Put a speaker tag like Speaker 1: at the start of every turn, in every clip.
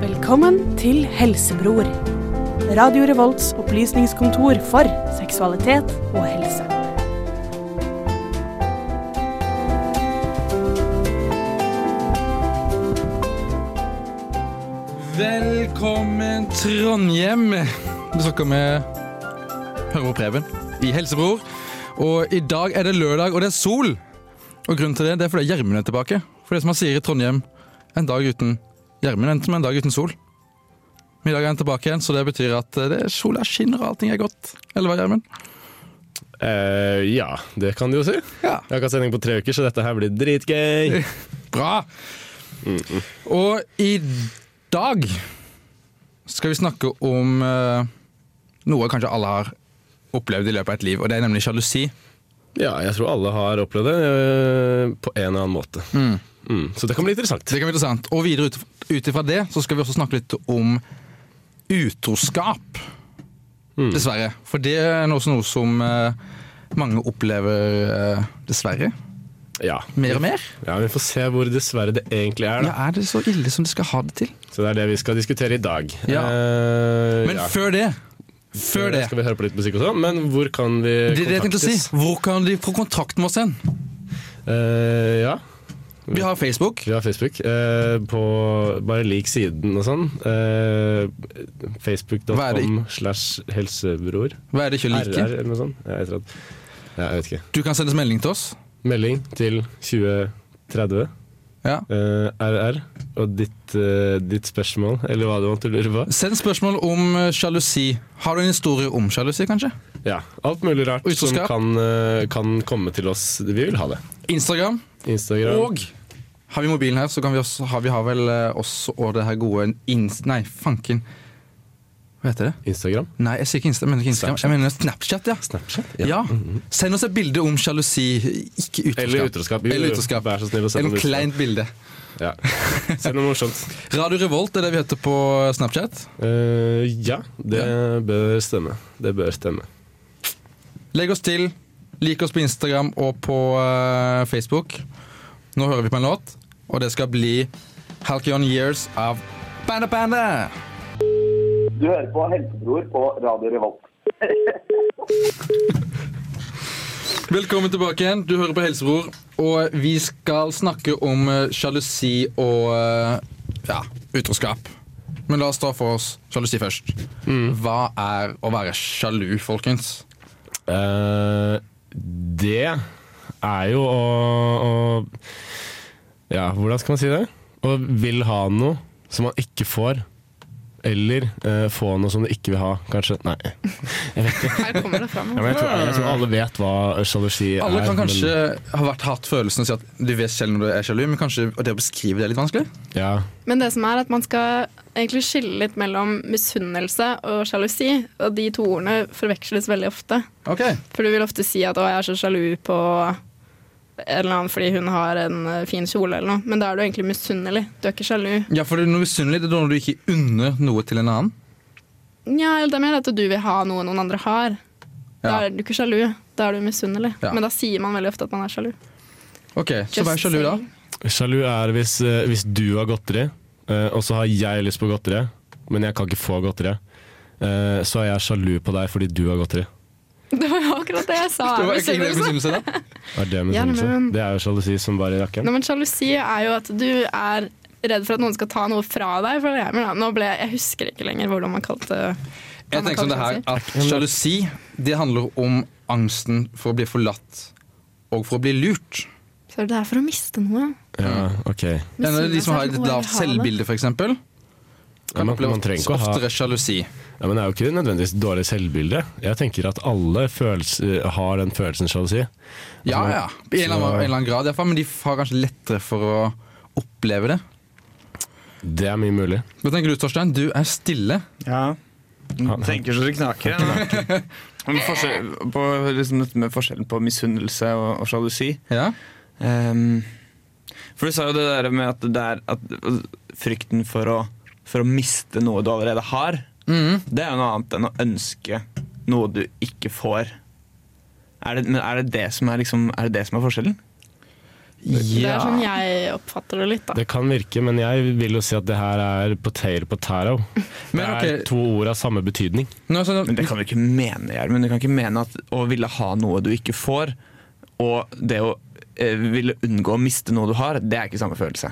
Speaker 1: Velkommen til Helsebror. Radio Revolts opplysningskontor for seksualitet og helse.
Speaker 2: Velkommen, Trondheim. Vi snakker med Hører på Preben i Helsebror. Og i dag er det lørdag, og det er sol. Og grunnen til det, det er fordi Gjermund er tilbake. For det som man sier i Trondheim, en dag uten Gjermund endte med en dag uten sol. Men i dag er han tilbake igjen, så det betyr at eh, det er sola skinner og allting er godt. Eller hva, Gjermund?
Speaker 3: Eh, ja, det kan du jo si.
Speaker 2: Ja.
Speaker 3: Jeg har ikke hatt sending på tre uker, så dette her blir dritgøy.
Speaker 2: Bra! Og i dag skal vi snakke om eh, noe kanskje alle har opplevd i løpet av et liv, og det er nemlig sjalusi.
Speaker 3: Ja, jeg tror alle har opplevd det eh, på en eller annen måte. Mm, så det kan bli interessant.
Speaker 2: Det kan være interessant. Og videre ut- ut ifra det så skal vi også snakke litt om utroskap.
Speaker 3: Mm.
Speaker 2: Dessverre. For det er også noe som eh, mange opplever, eh, dessverre.
Speaker 3: Ja.
Speaker 2: Mer og mer.
Speaker 3: ja, Vi får se hvor dessverre det egentlig er,
Speaker 2: Ja,
Speaker 3: da.
Speaker 2: er det så ille som de skal ha det til?
Speaker 3: Så det er det vi skal diskutere i dag.
Speaker 2: Ja.
Speaker 3: Eh,
Speaker 2: Men
Speaker 3: ja. Eh,
Speaker 2: før det Før det
Speaker 3: Skal vi høre på litt musikk og sånn, men hvor kan vi
Speaker 2: det er det jeg tenkte å si.
Speaker 3: kontaktes?
Speaker 2: Hvor kan de få kontakt med oss hen?
Speaker 3: Eh, ja.
Speaker 2: Vi har Facebook.
Speaker 3: Vi har Facebook. eh, på bare lik siden og sånn. Eh,
Speaker 2: Hva er
Speaker 3: Facebook.com
Speaker 2: det-
Speaker 3: slash helsebror.
Speaker 2: Hva er det ikke å
Speaker 3: RR
Speaker 2: like?
Speaker 3: eller noe sånt. Ja, jeg, tror at, ja, jeg vet ikke.
Speaker 2: Du kan sendes melding til oss.
Speaker 3: Melding til 2030
Speaker 2: Ja.
Speaker 3: eh, RR og ditt, eh, ditt spørsmål, eller hva du måtte lure på.
Speaker 2: Send spørsmål om eh, sjalusi. Har du en historie om sjalusi, kanskje?
Speaker 3: Ja, alt mulig rart
Speaker 2: Og
Speaker 3: som
Speaker 2: utroskap.
Speaker 3: kan, eh, kan komme til oss. Vi vil ha det.
Speaker 2: Instagram.
Speaker 3: Instagram.
Speaker 2: Og har vi mobilen her, så kan vi også har vi har vel eh, oss og det her gode inst... Nei, fanken. Hva heter det?
Speaker 3: Instagram.
Speaker 2: Nei, jeg sier ikke Insta, jeg mener ikke Instagram. Jeg mener Snapchat, ja.
Speaker 3: Snapchat.
Speaker 2: ja. Send oss et bilde om sjalusi, ikke utroskap.
Speaker 3: Mhm. Eller utroskap. Jo, jo,
Speaker 2: Eller utroskap.
Speaker 3: Vær så snill og send
Speaker 2: Eller noe
Speaker 3: noe
Speaker 2: kleint bilde.
Speaker 3: utroskap. Ja. Send noe morsomt.
Speaker 2: Radio Revolt er det vi heter på Snapchat.
Speaker 3: Eh, ja, det bør stemme. Det bør stemme.
Speaker 2: Legg oss til. Lik oss på Instagram og på eh, Facebook. Nå hører vi på en låt, og det skal bli Halcyon Years av Panda Panda.
Speaker 4: Du hører på Helsebror på Radio Revolt.
Speaker 2: Velkommen tilbake igjen. Du hører på Helsebror. Og vi skal snakke om eh, sjalusi og eh, ja, utroskap. Men la oss ta for oss sjalusi først. Hva er å være sjalu, folkens?
Speaker 3: Eh, det er jo å, å Ja, hvordan skal man si det? Å vil ha noe som man ikke får. Eller eh, få noe som du ikke vil ha, kanskje. Nei.
Speaker 5: Her kommer det fram.
Speaker 3: Ja, men jeg, tror, jeg tror alle vet hva sjalusi er.
Speaker 2: Alle kan
Speaker 3: men-
Speaker 2: kanskje ha vært hatt følelsen av å si at du vet selv når du er sjalu, men kanskje og det å beskrive det er litt vanskelig?
Speaker 3: ja.
Speaker 5: Men det som er at man skal egentlig skille litt mellom misunnelse og sjalusi. Og de to ordene forveksles veldig ofte.
Speaker 2: Ok,
Speaker 5: For du vil ofte si at 'å, jeg er så sjalu på en eller annen fordi hun har en eh, fin kjole', eller noe. Men da er du egentlig misunnelig. Du er ikke sjalu.
Speaker 2: Ja, for det er noe misunnelig det er når du ikke unner noe til en annen.
Speaker 5: Ja, eller det er mer at du vil ha noe noen andre har. Da
Speaker 2: Ja.
Speaker 5: er du ikke sjalu, da er du misunnelig.
Speaker 2: Ja.
Speaker 5: Men da sier man veldig ofte at man er sjalu.
Speaker 2: Ok, Så vær sjalu, da.
Speaker 3: Sjalu er hvis, eh, hvis du har godteri, eh, og så har jeg lyst på godteri, men jeg kan ikke få godteri. Eh, så er jeg sjalu på deg fordi du har godteri.
Speaker 5: Det var jo akkurat det jeg Ah, sa.
Speaker 2: Det var ikke det
Speaker 5: Misunnelse.
Speaker 2: misunnelse, da.
Speaker 3: Er det
Speaker 5: Ja,
Speaker 3: misunnelse?
Speaker 5: men-
Speaker 3: Det er jo sjalusi som bare rakkeren.
Speaker 5: Nei, men Sjalusi er jo at du er redd for at noen skal ta noe fra deg. For det er, men da- nå ble jeg, jeg husker ikke lenger hvordan man kalte
Speaker 2: Jeg tenker som det her at sjalusi det handler om angsten for å bli forlatt og for å bli lurt.
Speaker 5: Så det er for å miste noe.
Speaker 3: Ja, ok.
Speaker 2: En av de som har et lavt
Speaker 5: Misunnelse er sånn, «Å, jeg vil ha det».
Speaker 2: selvbilde, f.eks.,
Speaker 3: Ja,
Speaker 2: kan
Speaker 3: man,
Speaker 2: oppleve
Speaker 3: man trenger ikke å ha Altså,
Speaker 2: oftere sjalusi.
Speaker 3: ja, men Det er jo ikke nødvendigvis dårlig selvbilde. Jeg tenker at alle følels, har den følelsen sjalusi.
Speaker 2: Ja, ja. I en eller annen, en eller annen grad, i hvert fall, men de har kanskje lettere for å oppleve det.
Speaker 3: Det er mye mulig.
Speaker 2: Hva tenker du, Torstein? Du er stille.
Speaker 6: Ja. Tenker så det knaker. jeg, da. Men forskjell, på liksom dette med forskjellen på misunnelse og, og sjalusi
Speaker 2: Ja.
Speaker 6: Ehm, For du sa jo det der med at, det er, at frykten for å, for å miste noe du allerede har,
Speaker 2: Mhm.
Speaker 6: det er jo noe annet enn å ønske noe du ikke får. Er det, men er det det som er, liksom, er, det det som er forskjellen?
Speaker 5: Det
Speaker 2: Ja.
Speaker 5: er sånn jeg oppfatter det litt, da.
Speaker 3: Det kan virke, men jeg vil jo si at det her er potato potato. Det
Speaker 2: Men
Speaker 3: er
Speaker 2: ok,
Speaker 3: to ord av samme betydning.
Speaker 2: nå, så,
Speaker 6: Men det kan du ikke mene, Gjermund. Du kan ikke mene at å ville ha noe du ikke får, og det å eh, ville unngå å miste noe du har, det er ikke samme følelse.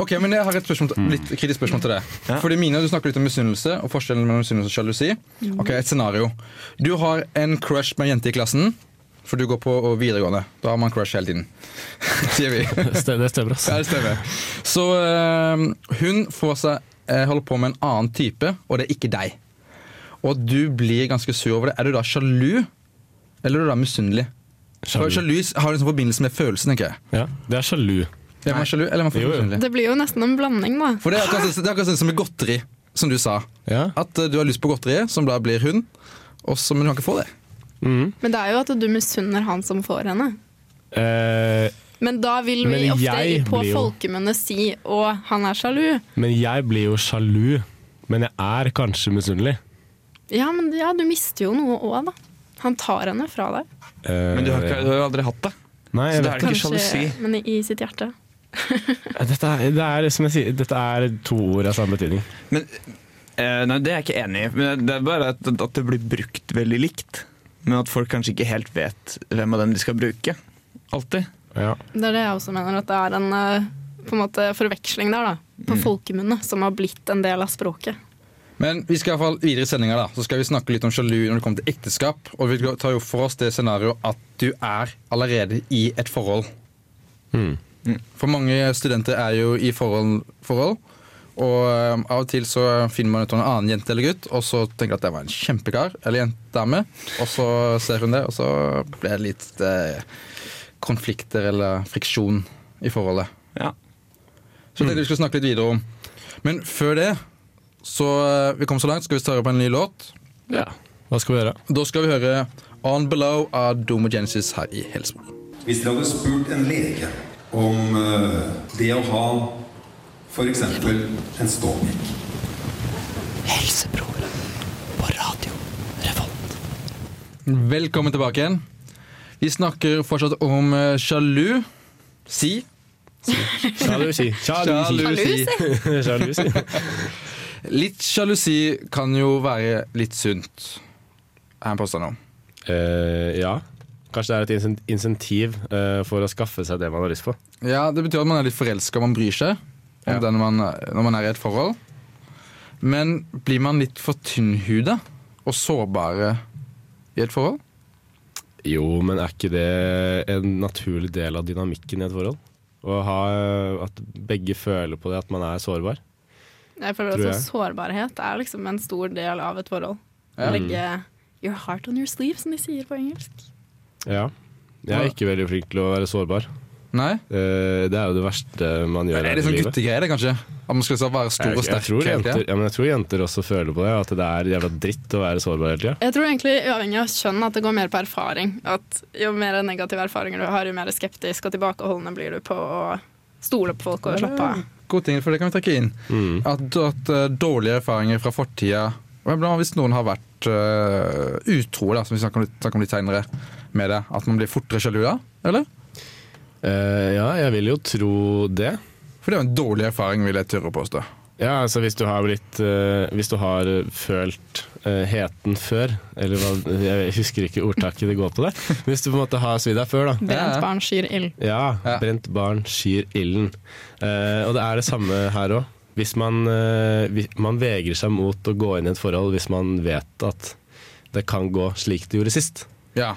Speaker 2: Ok, men Jeg har et spørsmål,
Speaker 3: Mm.
Speaker 2: til- litt kritisk spørsmål til deg.
Speaker 6: Ja.
Speaker 2: Fordi Mina, Du snakker litt om misunnelse og forskjellen mellom misunnelse og sjalusi. Ok, Et scenario. Du har en crush med en jente i klassen, for du går på og videregående. Da har man crush hele tiden. Sier vi. Ja,
Speaker 3: Det stemmer, det stemmer altså.
Speaker 2: det
Speaker 3: ass.
Speaker 2: stemmer. Så eh, hun får seg eh, holder på med en annen type, og det er ikke deg. Og du blir ganske sur over det. Er du da sjalu, eller er du da misunnelig? For
Speaker 3: Sjalu.
Speaker 2: Sjalu har en sånn forbindelse med følelsen, tenker jeg.
Speaker 3: Ja, det er sjalu.
Speaker 2: Er man sjalu, eller er man
Speaker 3: Jo, jo.
Speaker 2: misunnelig?
Speaker 5: Det blir jo nesten en blanding, da.
Speaker 2: For det er akkurat det er akkurat sånn som med godteri, som du sa.
Speaker 3: Ja.
Speaker 2: At eh, du har lyst på godteriet, som da blir hun, og så, men du kan ikke få det.
Speaker 3: Mm.
Speaker 5: Men det er jo at du misunner han som får henne.
Speaker 3: Eh,
Speaker 5: Men da vil vi
Speaker 3: Men jeg
Speaker 5: ofte på
Speaker 3: blir jo-
Speaker 5: folkemunne si 'å, han er sjalu'.
Speaker 3: men jeg blir jo sjalu. Men jeg er kanskje misunnelig.
Speaker 5: Ja, men ja, du mister jo noe òg, da. Han tar henne fra deg.
Speaker 3: Eh,
Speaker 6: Men du har, ikke, du har jo aldri hatt det.
Speaker 3: Nei,
Speaker 6: Så
Speaker 3: jeg
Speaker 6: da er
Speaker 3: vet
Speaker 6: det ikke sjalusi.
Speaker 5: men i- i sitt hjerte.
Speaker 3: ikke. Dette er, det er, som jeg sier, dette er to ord av samme betydning.
Speaker 6: Men, eh, nei, det er jeg ikke enig i. Men Det er bare at, at det blir brukt veldig likt. Men at folk kanskje ikke helt vet hvem av dem de skal bruke. Alltid.
Speaker 3: Ja.
Speaker 5: Det er det jeg også mener, at det er en eh, på en måte forveksling der, da.
Speaker 3: Mm.
Speaker 5: På folkemunne, som har blitt en del av språket.
Speaker 2: Men vi skal i hvert fall videre i sendinga, da. Så skal vi snakke litt om sjalu når det kommer til ekteskap. Og vi tar jo for oss det scenarioet at du er allerede i et forhold.
Speaker 3: Mm.
Speaker 2: For mange studenter er jo i forhold, forhold og eh, av og til så finner man ut om en annen jente eller gutt, og så tenker at det var en kjempekar eller jente dame, og så ser hun det, og så blir det litt eh, konflikter eller friksjon i forholdet.
Speaker 6: Ja.
Speaker 2: Så jeg tenkte vi skulle snakke litt videre om. Men før det, så eh, vi kom så langt, skal vi starte på en ny låt.
Speaker 3: ja. Hva skal vi gjøre?
Speaker 2: Da skal vi høre On Below av Domo Genesis her i Helsebro.
Speaker 7: Hvis dere hadde spurt en lege om eh, det å ha f.eks. en ståpikk
Speaker 6: Helsebroren på radio Revolt.
Speaker 2: Velkommen tilbake igjen. Vi snakker fortsatt om eh, sjalu. Si.
Speaker 3: Sjalusi.
Speaker 2: Sjalusi.
Speaker 3: Sjalusi.
Speaker 2: Litt sjalusi kan jo være litt sunt, er en påstand om.
Speaker 3: Eh, ja. Kanskje det er et insen- insentiv eh, for å skaffe seg det man har lyst på.
Speaker 2: Ja, Det betyr at man er litt forelska, man bryr seg om
Speaker 3: Ja.
Speaker 2: den man, når man er i et forhold. Men blir man litt for tynnhuda og sårbare i et forhold?
Speaker 3: Jo, men er ikke det en naturlig del av dynamikken i et forhold? Å ha, eh, at begge føler på det, at man er sårbar?
Speaker 5: Jeg føler
Speaker 3: Tror
Speaker 5: også
Speaker 3: jeg.
Speaker 5: sårbarhet er liksom en stor del av et forhold.
Speaker 2: Ja.
Speaker 3: Mm.
Speaker 5: Legge your heart on your sleeve, som de sier på engelsk.
Speaker 3: Ja. Jeg er ikke veldig flink til å være sårbar.
Speaker 2: Nei?
Speaker 3: Eh, det er jo det verste man gjør
Speaker 2: Er
Speaker 3: her
Speaker 2: det
Speaker 3: i
Speaker 2: sånn
Speaker 3: livet.
Speaker 2: guttegreier, det, kanskje? At man skal så være stor
Speaker 3: Jeg,
Speaker 2: og
Speaker 3: jeg,
Speaker 2: sterk?
Speaker 3: tror
Speaker 2: hele
Speaker 3: jenter,
Speaker 2: tiden?
Speaker 3: ja, men jeg tror jenter også føler på det, at det er jævla dritt å være sårbar hele tida.
Speaker 5: Jeg tror egentlig uavhengig av kjønn at det går mer på erfaring. At jo mer negative erfaringer du har, jo mer skeptisk og tilbakeholdende blir du på å stole på folk og slappe av.
Speaker 2: God ting, for det kan vi trekke inn.
Speaker 3: Mm.
Speaker 2: At, at eh, dårlige erfaringer fra fortida og iblant Hvis noen har vært eh, utro, da, som vi snakker om, litt- snakker om litt seinere, med det, at man blir fortere sjalu da? Eller?
Speaker 3: Eh, ja, jeg vil jo tro det.
Speaker 2: For det er jo en dårlig erfaring, vil jeg tørre å påstå.
Speaker 3: Ja, altså hvis du har blitt eh, Hvis du har følt eh, heten før, eller hva Jeg husker ikke ordtaket det går på der. Hvis du på en måte har svidd deg før, da.
Speaker 2: Ja, ja.
Speaker 5: Brent barn skyr ild.
Speaker 3: Ja,
Speaker 2: Ja.
Speaker 3: brent barn skyr ilden. Eh, og det er det samme her òg. Hvis man, eh, vi- man vegrer seg mot å gå inn i et forhold hvis man vet at det kan gå slik det gjorde sist.
Speaker 2: Ja.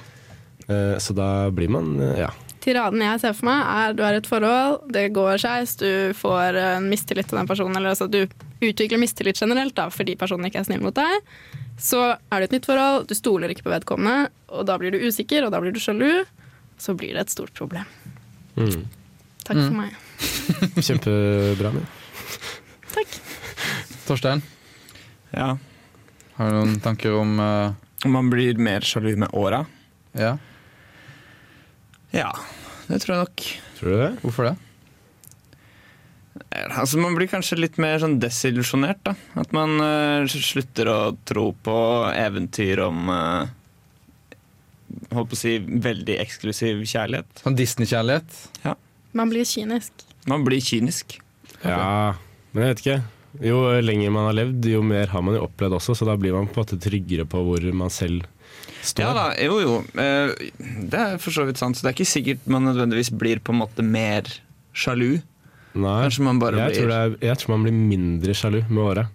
Speaker 3: Eh, så da blir man eh, Ja.
Speaker 5: Tiraden jeg ser for meg, er du er i et forhold, det går skeis, du får eh, en mistillit til den personen, eller altså du utvikler mistillit generelt da, fordi personen ikke er snill mot deg. Så er det et nytt forhold, du stoler ikke på vedkommende, og da blir du usikker, og da blir du sjalu. Så blir det et stort problem.
Speaker 3: Mm.
Speaker 5: Takk for meg.
Speaker 3: Kjempebra. Min.
Speaker 5: Takk.
Speaker 2: Torstein,
Speaker 6: Ja.
Speaker 2: har du noen tanker om eh,
Speaker 6: Man blir mer sjalu med åra.
Speaker 2: Ja,
Speaker 6: Ja, det tror jeg nok.
Speaker 3: Tror du det?
Speaker 2: hvorfor det?
Speaker 6: Eh, Altså, man blir kanskje litt mer sånn desillusjonert, da. At man eh, slutter å tro på eventyr om eh, holdt på å si, veldig eksklusiv kjærlighet.
Speaker 2: Sånn Disney-kjærlighet.
Speaker 5: Man blir kynisk.
Speaker 6: Man blir kynisk.
Speaker 3: Ja, men jeg vet ikke. Jo lenger man har levd, jo mer har man jo opplevd også, så da blir man på en måte tryggere på hvor man selv står.
Speaker 6: Ja da, jo jo. Eh, Det er for så vidt sant. Så det er ikke sikkert man nødvendigvis blir på en måte mer sjalu.
Speaker 3: Nei,
Speaker 6: Kanskje man bare
Speaker 3: jeg,
Speaker 6: blir-
Speaker 3: tror det er, jeg tror man blir mindre sjalu med åra.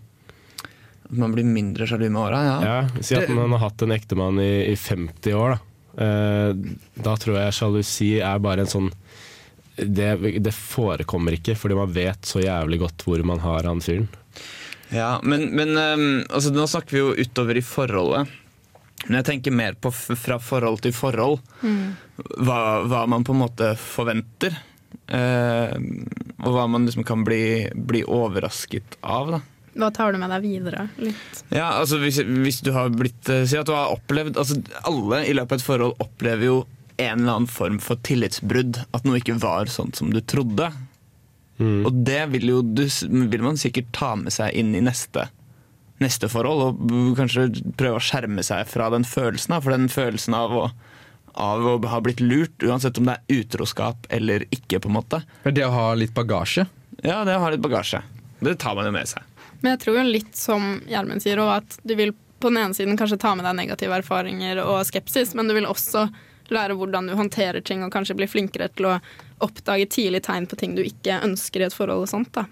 Speaker 6: At Man blir mindre sjalu med åra, ja.
Speaker 3: Ja, si at man har hatt en ektemann i, i 50 år, da. Eh, da tror jeg sjalusi er bare en sånn det, det forekommer ikke, fordi man vet så jævlig godt hvor man har han fyren.
Speaker 6: ja men men eh, altså, nå snakker vi jo utover i forholdet. Men jeg tenker mer på f fra forhold til forhold. Hva, hva man på en måte forventer. eh, og hva man liksom kan bli, bli overrasket av, da.
Speaker 5: Hva tar du med deg videre? Litt.
Speaker 6: Ja, altså hvis, hvis du har blitt eh, Si at du har opplevd altså Alle i løpet av et forhold opplever jo en eller annen form for tillitsbrudd. At noe ikke var sånn som du trodde. Og det vil jo du, s- vil man sikkert ta med seg inn i neste, neste forhold. Og b- kanskje prøve å skjerme seg fra den følelsen. da, For den følelsen av å, av å ha blitt lurt, uansett om det er utroskap eller ikke, på en måte.
Speaker 2: Men det å ha litt bagasje
Speaker 6: Ja, det har litt bagasje. Det tar man jo med seg.
Speaker 5: Men jeg tror jo litt som Gjermund sier òg, at du vil på den ene siden kanskje ta med deg negative erfaringer og skepsis, men du vil også lære hvordan du håndterer ting og kanskje bli flinkere til å oppdage tidlig tegn på ting du ikke ønsker i et forhold og sånt. da.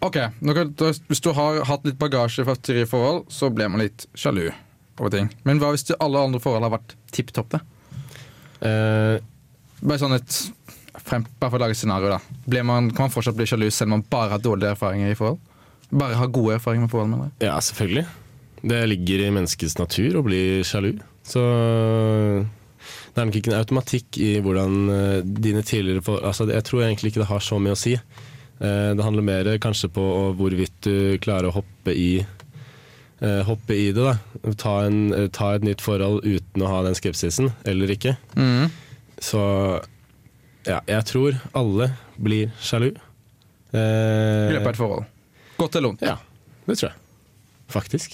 Speaker 2: Ok, nå kan, da, Hvis du har hatt litt bagasje fra tidligere forhold, så blir man litt sjalu. over ting. Men hva hvis det, alle andre forhold har vært tipp topp? da?
Speaker 3: Eh,
Speaker 2: Bare sånn et frem, bare for å lage et scenario, da. Blir man, kan man fortsatt bli sjalu selv om man bare har dårlige erfaringer i forhold? Bare har gode erfaringer med forhold? Mener jeg.
Speaker 3: ja, selvfølgelig. Det ligger i menneskets natur å bli sjalu. Så eh, det er nok ikke en automatikk i hvordan eh, dine tidligere for, altså, Jeg tror egentlig ikke det har så mye å si. Eh, Det handler mer kanskje på hvorvidt du klarer å hoppe i eh, Hoppe i det, da. Ta, en, eh, ta et nytt forhold uten å ha den skepsisen, eller ikke. Så ja, jeg tror alle blir sjalu. Eh,
Speaker 2: I
Speaker 3: I
Speaker 2: løpet av et forhold. Godt eller vondt.
Speaker 3: ja, det tror jeg. Faktisk.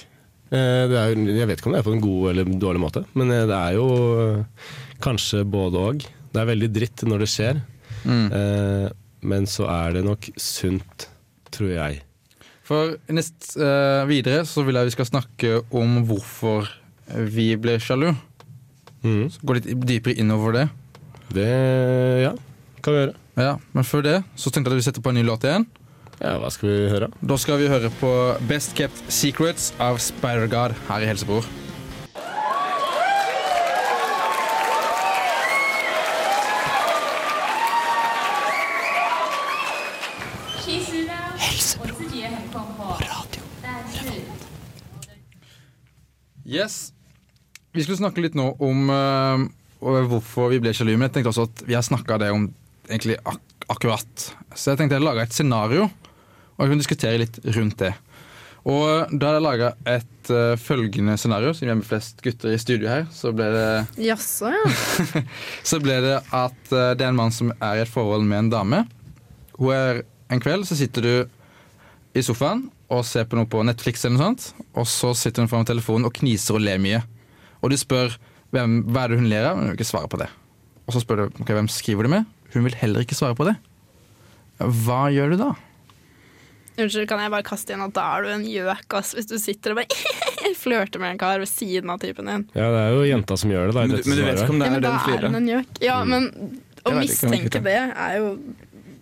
Speaker 3: Eh, Det er, jo- jeg vet ikke om det er på en god eller dårlig måte, men eh, det er jo eh, kanskje både og. Det er veldig dritt når det skjer, Eh, men så er det nok sunt, tror jeg.
Speaker 2: For nest, eh, videre så vil jeg vi skal snakke om hvorfor vi ble sjalu.
Speaker 3: Mhm.
Speaker 2: Så Gå litt dypere innover det.
Speaker 3: Det ja, kan vi gjøre.
Speaker 2: Ja, Men før det så tenkte jeg at vi setter på en ny låt igjen.
Speaker 3: Ja, Hva skal vi høre?
Speaker 2: Da skal vi høre på Best Kept Secrets av Spider-God her i Helsebror. Yes. Vi skulle snakke litt nå om eh, og hvorfor vi ble sjalu, men jeg tenkte også at vi har snakka det om egentlig ak akkurat. Så jeg tenkte jeg laga et scenario, og jeg kunne diskutere litt rundt det. Og da hadde jeg laga et eh, følgende scenario, siden vi er med flest gutter i studio her, så ble det
Speaker 5: Jaså, ja.
Speaker 2: så ble det at eh, det er en mann som er i et forhold med en dame. Hun er En kveld så sitter du i sofaen og ser på noe på Netflix, eller noe sånt, og så sitter hun foran telefonen og kniser og ler mye. Og du spør hvem, hva er det hun ler av, men hun vil ikke svare på det. Og så spør du ok, hvem skriver du med. Hun vil heller ikke svare på det. Hva gjør du da?
Speaker 5: Unnskyld, kan jeg bare kaste inn at da er du en gjøk, ass, hvis du sitter og bare flørter med en kar ved siden av typen din.
Speaker 3: Ja, Det er jo jenta som gjør det. da i
Speaker 6: Men,
Speaker 3: dette
Speaker 6: men du vet
Speaker 3: scenarioet.
Speaker 6: ikke om det
Speaker 5: Ja, men da
Speaker 6: er den
Speaker 5: er
Speaker 6: fyren.
Speaker 5: hun en gjøk. Ja, men å
Speaker 2: Jeg vet ikke om jeg
Speaker 5: mistenke
Speaker 2: ikke
Speaker 5: det er jo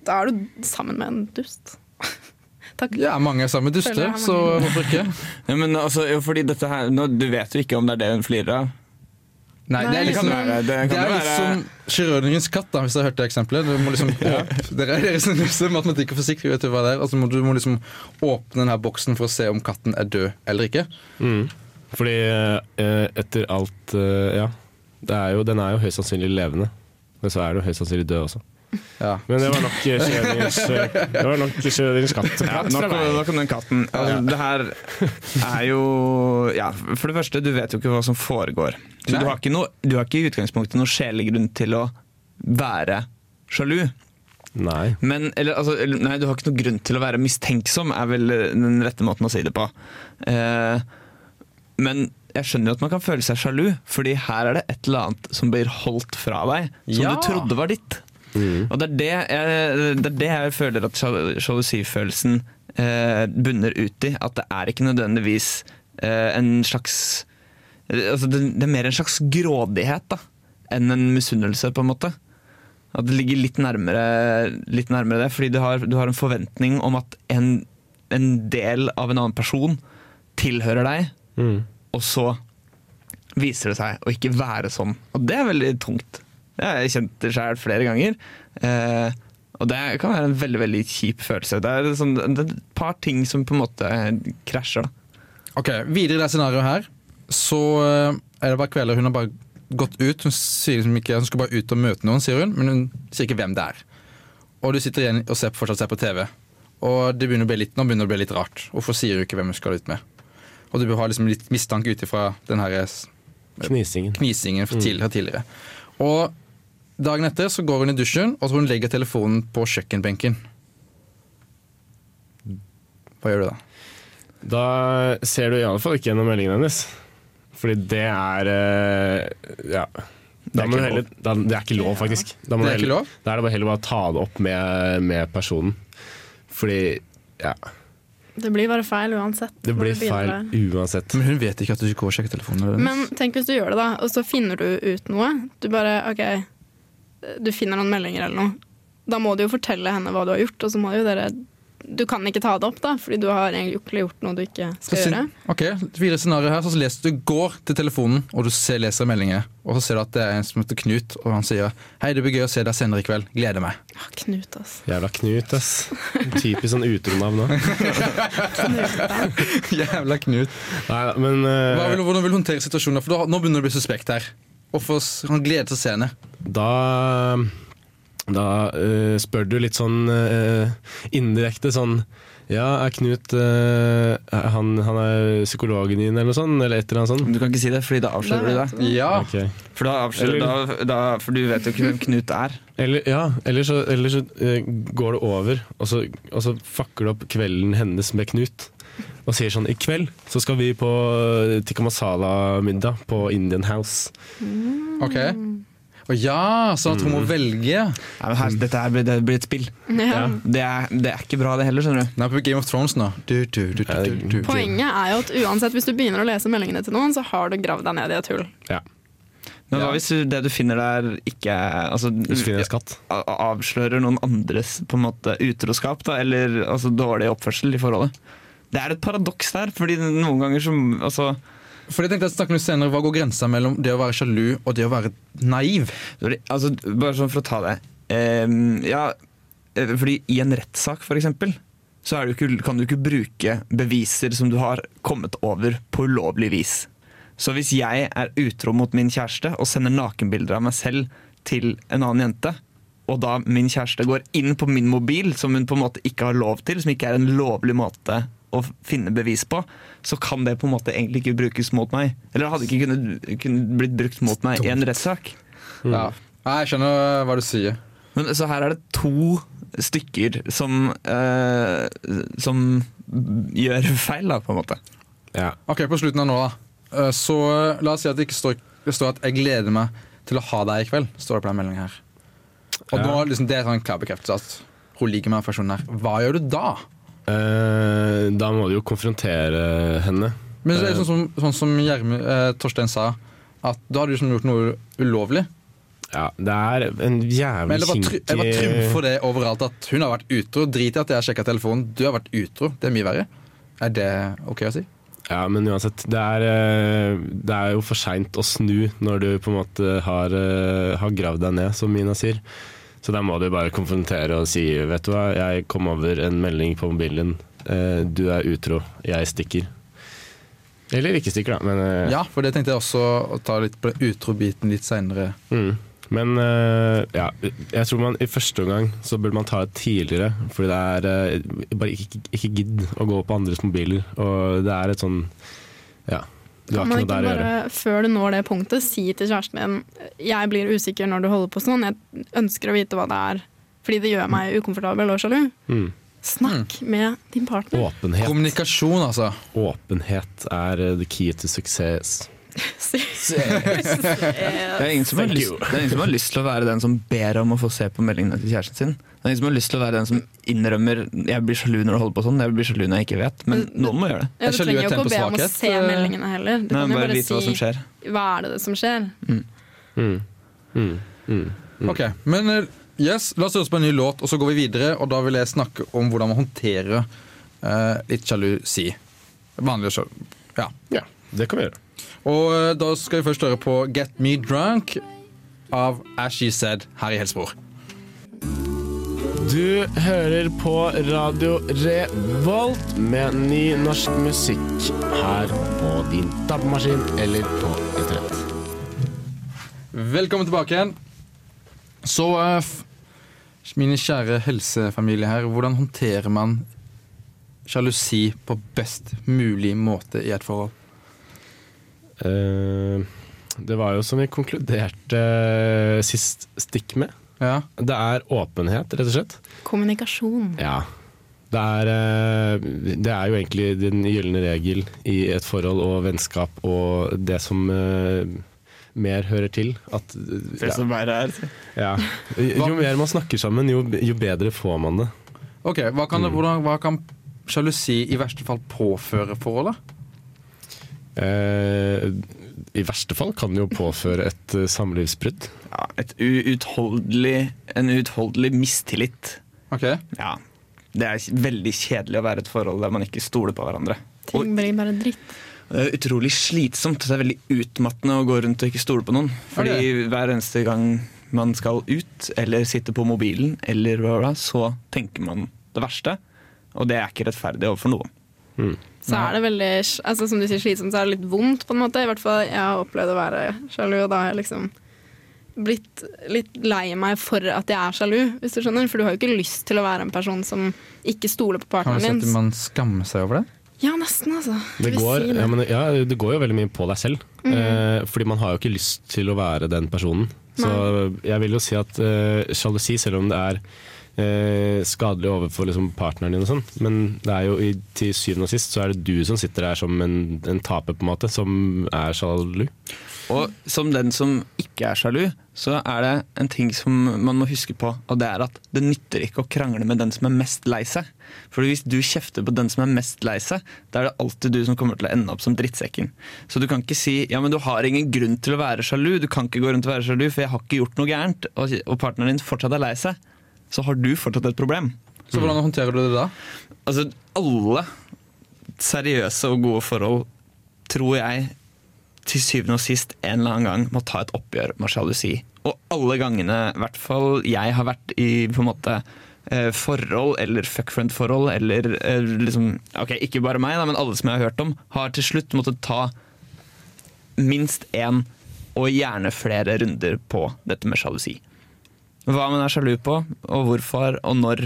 Speaker 5: Da er du sammen med en dust. Takk.
Speaker 2: Ja, mange er sammen
Speaker 5: Føler
Speaker 2: duster,
Speaker 5: jeg har
Speaker 2: så
Speaker 5: mange.
Speaker 2: hvorfor ikke?
Speaker 6: Ja, men altså, jo, fordi dette her, nå, Du vet jo ikke om det er det hun flirer av.
Speaker 2: Nei, det er
Speaker 5: Nei.
Speaker 6: Det kan
Speaker 2: liksom
Speaker 5: Liksom-
Speaker 6: være, det
Speaker 2: Det
Speaker 6: kan
Speaker 2: er
Speaker 6: jo
Speaker 2: litt
Speaker 6: være
Speaker 2: som Schrødingens katt, da, hvis jeg hørte eksempelet. Du må liksom åpne, dere er deres neste matematikk og fysikk, vi vet jo hva det er. Altså, må- du må liksom åpne denne boksen for å se om katten er død eller ikke.
Speaker 3: Fordi eh, etter alt eh, Ja. Det er jo, den er jo høyst sannsynlig levende, men så er den jo høyst sannsynlig død også.
Speaker 2: Ja.
Speaker 3: Men det var nok Schrødingers Det var nok Schrødingers katt.
Speaker 6: ja, nok, om- nok om den katten. Altså, Det her er jo ja, For det første, du vet jo ikke hva som foregår. Så
Speaker 2: Nei.
Speaker 6: du har, ikke noe, du har ikke i utgangspunktet noen skjellig grunn til å være sjalu.
Speaker 3: Nei.
Speaker 6: Men, eller, altså, eller, nei, du har ikke noen grunn til å være mistenksom, er vel eh, den rette måten å si det på. Eh, men jeg skjønner jo at man kan føle seg sjalu, fordi her er det et eller annet som blir holdt fra deg, som
Speaker 2: Ja.
Speaker 6: du trodde var ditt.
Speaker 2: Mm.
Speaker 6: Og det er det, jeg, det er det jeg føler at sjal- sjalusifølelsen eh, bunner ut i. At det er ikke nødvendigvis eh, en slags altså det, det er mer en slags grådighet da, enn en misunnelse, på en måte. At det ligger litt nærmere, litt nærmere det, fordi du har, du har en forventning om at en, en del av en annen person tilhører deg, og så viser det seg å ikke være sånn. Og det er veldig tungt. Det har jeg kjent det sjøl flere ganger. Eh, og det kan være en veldig veldig kjip følelse. Det er, sånn, det er et par ting som på en måte krasjer. da.
Speaker 2: Ok, Videre i det scenarioet her, så eh, er det bare kvelder hun har bare gått ut. Hun sier liksom ikke hun skal bare ut og møte noen, sier hun, men hun sier ikke hvem det er. Og du sitter igjen og ser, fortsatt ser på TV. Og det begynner å bli litt, nå begynner det å bli litt rart. Hvorfor sier du ikke hvem hun skal ut med? Og du bør ha liksom litt mistanke ut ifra den her s-
Speaker 3: Knisingen.
Speaker 2: knisingen fra tidligere og tidligere. Og dagen etter så går hun i dusjen, og så hun legger telefonen på kjøkkenbenken. Hva gjør du da?
Speaker 3: Da ser du iallfall ikke gjennom meldingen hennes. Fordi det er eh, Ja. Da
Speaker 2: er
Speaker 3: må du
Speaker 2: ikke
Speaker 3: heller, da, det er ikke lov, faktisk. Da må
Speaker 2: Det er
Speaker 3: du
Speaker 2: ikke
Speaker 3: heller-
Speaker 2: lov?
Speaker 3: Da er det bare heller bare å ta det opp med, med personen. Fordi ja,
Speaker 5: Det blir bare feil uansett.
Speaker 3: det
Speaker 5: når
Speaker 3: blir
Speaker 5: du begynner
Speaker 3: feil
Speaker 5: der.
Speaker 3: uansett.
Speaker 2: Men hun vet ikke at du ikke går og sjekker telefonen. eller-
Speaker 5: Men tenk hvis du gjør det, da, og så finner du ut noe. Du bare OK, du finner noen meldinger eller noe. Da må du jo fortelle henne hva du har gjort, og så må jo dere Du kan ikke ta det opp, da, fordi du har egentlig ikke gjort noe du ikke
Speaker 2: Så
Speaker 5: skal
Speaker 2: sin-
Speaker 5: gjøre.
Speaker 2: Ok, Videre scenario her, så leser du går til telefonen og du ser, leser meldinger. Og så ser du at det er en som heter Knut, og han sier 'Hei, det blir gøy å se deg senere i kveld. Gleder meg'.
Speaker 5: Ah, Knut, ass.
Speaker 3: Jævla Knut, ass. Typisk sånn utronavn òg.
Speaker 2: Jævla Knut.
Speaker 3: Nei da, men eh,
Speaker 2: Hva vil, hvordan vil du håndtere situasjonen? da? For da, Nå begynner det å bli suspekt her. Hvorfor s- han gleder seg til å se henne?
Speaker 3: da da eh, spør du litt sånn eh, indirekte sånn Ja, er Knut eh, er han, han er psykologen din, eller noe sånt? Eller et eller annet sånt?
Speaker 6: Du kan ikke si det, fordi da avslører du
Speaker 5: Da
Speaker 6: det.
Speaker 5: vet
Speaker 2: Ja,
Speaker 3: Ok.
Speaker 6: For, da avslører,
Speaker 3: Eller-
Speaker 6: da, da, for du vet jo ikke hvem Knut er.
Speaker 3: Eller, ja, eller så, eller så eh, går det over, og så, og så fucker du opp kvelden hennes med Knut. Og sier sånn I kveld så skal vi på eh, tikka masala-middag på Indian House.
Speaker 2: ok. Å ja, sånn at hun må velge.
Speaker 6: Nei, men her, dette her blir, det blir et spill.
Speaker 5: Ja.
Speaker 6: Det er, det er ikke bra, det heller, skjønner du.
Speaker 2: Nei, på Game of Thrones nå. Du, du, du, du, du, du.
Speaker 5: Poenget er jo at uansett hvis du begynner å lese meldingene til noen, så har du gravd deg ned i et hull.
Speaker 3: Ja,
Speaker 6: Men
Speaker 2: Ja.
Speaker 6: hva hvis du- det du finner der, ikke altså,
Speaker 3: Hvis du finner en skatt.
Speaker 6: a- avslører noen andres på en måte utroskap, da, eller altså, dårlig oppførsel i forholdet? Det er et paradoks der, fordi noen ganger så altså,
Speaker 2: For jeg tenkte jeg snakke litt senere, Hva går grensa mellom det å være sjalu og det å være naiv?
Speaker 6: Sorry, altså, bare sånn for å ta det. Ehm, ja, eh, fordi i en rettssak, for eksempel, så er det jo ikke, kan du ikke bruke beviser som du har kommet over på ulovlig vis. Så hvis jeg er utro mot min kjæreste og sender nakenbilder av meg selv til en annen jente, og da min kjæreste går inn på min mobil, som hun på en måte ikke har lov til, som ikke er en lovlig måte å finne bevis på, så kan det på en måte egentlig ikke brukes mot meg. Eller det hadde ikke kunnet, kunnet blitt brukt mot meg i en rettssak.
Speaker 2: Ja. Nei, Jeg skjønner hva du sier.
Speaker 6: Men så her er det to stykker som eh, Som gjør feil, da, på en måte.
Speaker 3: Ja.
Speaker 2: Ok, på slutten av nå da Eh, Så eh, la oss si at det ikke står, det står at Jeg gleder meg til å ha deg i kveld Står det på den meldingen her Og
Speaker 3: Ja.
Speaker 2: nå liksom, det er sånn klar bekreftelse at Hun liker meg av personen her Hva gjør du da?
Speaker 3: Eh, da må du jo konfrontere henne.
Speaker 2: Men det er jo sånn som, sånn som Gjerm, eh, Torstein sa At da har du liksom gjort noe ulovlig
Speaker 3: Ja, det er en
Speaker 2: Men
Speaker 3: jævlig
Speaker 2: jeg bare, try, jeg bare trumfer det overalt At hun har vært utro Drit i at jeg har sjekket telefonen Du har vært utro, det er mye verre Er det ok å si?
Speaker 3: Ja, men uansett. Det er, eh, det er jo for seint å snu når du på en måte har, eh, har gravd deg ned, som Mina sier. Så der må du bare konfrontere og si Vet du hva, jeg kom over en melding på mobilen. Eh, Du er utro. Jeg stikker. Eller ikke stikker, da. Men, eh,
Speaker 2: Ja, for det tenkte jeg også Å ta litt på den utro-biten litt senere
Speaker 3: mm. men eh, ja, jeg tror man i første omgang så burde man ta det tidligere. Fordi det er eh, Bare ikke, ikke gidd å gå på andres mobiler. Og det er et sånn Ja. Du har
Speaker 5: Men
Speaker 3: ikke noe
Speaker 5: ikke
Speaker 3: der å gjøre.
Speaker 5: bare før du når det punktet, si til kjæresten din jeg blir usikker når du holder på sånn, jeg ønsker å vite hva det er. Fordi det gjør meg ukomfortabel og sjalu.
Speaker 3: Mm.
Speaker 5: Snakk med din partner.
Speaker 3: Åpenhet.
Speaker 2: Kommunikasjon, altså.
Speaker 3: Åpenhet er eh, the key to success.
Speaker 5: Eh,
Speaker 6: Det er, ingen som har
Speaker 3: Thank
Speaker 6: lyst,
Speaker 3: you.
Speaker 6: det er ingen som har lyst til å være den som ber om å få se på meldingene til kjæresten sin. Det er ingen som har lyst til å være den som innrømmer 'jeg blir sjalu når du holder på sånn', 'jeg blir sjalu når jeg ikke vet'. Men noen må gjøre det.
Speaker 5: Ja,
Speaker 2: Jeg
Speaker 5: du
Speaker 2: skjønner
Speaker 5: trenger
Speaker 2: jo
Speaker 5: jo ikke å be om å
Speaker 2: temposvakhet,
Speaker 5: se
Speaker 2: eh,
Speaker 5: meldingene heller. Du kan
Speaker 6: Nei,
Speaker 5: jo
Speaker 6: bare
Speaker 5: bare
Speaker 6: vite hva som
Speaker 5: si
Speaker 6: skjer.
Speaker 5: hva er det som skjer.
Speaker 2: Ok, men eh, yes, La oss høre på en ny låt, og så går vi videre. Og da vil jeg snakke om hvordan man håndterer eh, litt sjalusi. Vanlig sjal... Ja.
Speaker 3: Ja, det kan vi gjøre.
Speaker 2: Og eh, da skal vi først høre på Get Me Drunk av As She Said her i Helsebor.
Speaker 3: Du hører på Radio Revolt med ny norsk musikk her på din DAB-maskin eller på internett.
Speaker 2: Velkommen tilbake igjen. Så eh, f- Mine kjære helsefamilie her, hvordan håndterer man sjalusi på best mulig måte i et forhold?
Speaker 3: Eh, det var jo som vi konkluderte eh, sist stikk med.
Speaker 2: Ja,
Speaker 3: Det er åpenhet, rett og slett.
Speaker 5: Kommunikasjon.
Speaker 3: Ja. Det er, eh, det er jo egentlig den gylne regel i et forhold og vennskap og det som eh, mer hører til. At, ja, ja. Jo mer man snakker sammen, jo, jo bedre får man det.
Speaker 2: Ok, hva kan, det- hvordan, hva kan sjalusi i verste fall påføre forholdet?
Speaker 3: Eh, I verste fall kan det jo påføre et eh, samlivsbrudd.
Speaker 6: Ja, et uutholdelig, en uutholdelig mistillit.
Speaker 2: Ok,
Speaker 6: Ja. Det er veldig kjedelig å være i et forhold der man ikke stoler på hverandre. Og
Speaker 5: Ting blir bare dritt.
Speaker 6: det er utrolig slitsomt. Det er veldig utmattende å gå rundt og ikke stole på noen. Fordi hver eneste gang man skal ut, eller sitte på mobilen, eller hva da, så tenker man det verste. Og det er ikke rettferdig overfor noen.
Speaker 5: Så er det veldig altså, Som du sier slitsomt, så er det litt vondt, på en måte. I hvert fall jeg har opplevd å være sjalu, og da har jeg liksom blitt litt lei meg for at jeg er sjalu, hvis du skjønner. For du har jo ikke lyst til å være en person som ikke stoler på
Speaker 2: Kan du si
Speaker 5: partneren
Speaker 2: at
Speaker 5: din.
Speaker 2: man skammer seg over det?
Speaker 5: Ja, nesten, altså.
Speaker 3: Det
Speaker 5: Jeg vil
Speaker 3: går,
Speaker 5: si det. Mm.
Speaker 3: ja, men, ja, det går jo veldig mye på deg selv. Eh, fordi man har jo ikke lyst til å være den personen. Så jeg vil jo si at eh, sjalusi, selv om det er eh, skadelig overfor liksom, partneren din og sånn, men det er jo i, til syvende og sist så er det du som sitter der som en, en taper, på en måte, som er sjalu.
Speaker 6: Og som den som ikke er sjalu, så er det en ting som man må huske på, og det er at det nytter ikke å krangle med den som er mest lei seg. For hvis du kjefter på den som er mest lei seg, da er det alltid du som kommer til å ende opp som drittsekken. Så du kan ikke si ja, men du har ingen grunn til å være sjalu, du kan ikke gå rundt og være sjalu, for jeg har ikke gjort noe gærent, og og partneren din fortsatt er lei seg. Så har du fortsatt et problem. Mm.
Speaker 2: Så hvordan håndterer du det da?
Speaker 6: Altså, alle seriøse og gode forhold tror jeg til syvende og sist en eller annen gang må ta et oppgjør med sjalusi. Og alle gangene, i hvert fall jeg har vært i på en måte eh, forhold eller fuckfriend-forhold eller eh, liksom Ok, ikke bare meg, da, men alle som jeg har hørt om, har til slutt måttet ta minst én og gjerne flere runder på dette med sjalusi. Hva man er sjalu på, og hvorfor, og når,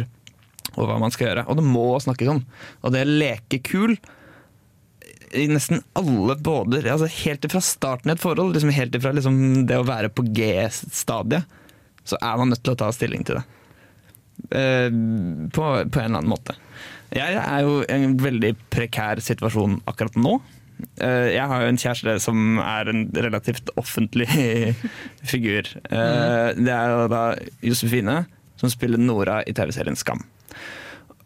Speaker 6: og hva man skal gjøre. Og det må snakkes om. Og det å leke kul i nesten alle båder, altså helt fra starten i et forhold, liksom helt fra liksom det å være på G-stadiet, så er man nødt til å ta stilling til det. Eh, på, på en eller annen måte. Jeg er jo i en veldig prekær situasjon akkurat nå. Eh, jeg har jo en kjæreste som er en relativt offentlig figur. Eh, det er jo da Josefine, som spiller Nora i TV-serien Skam.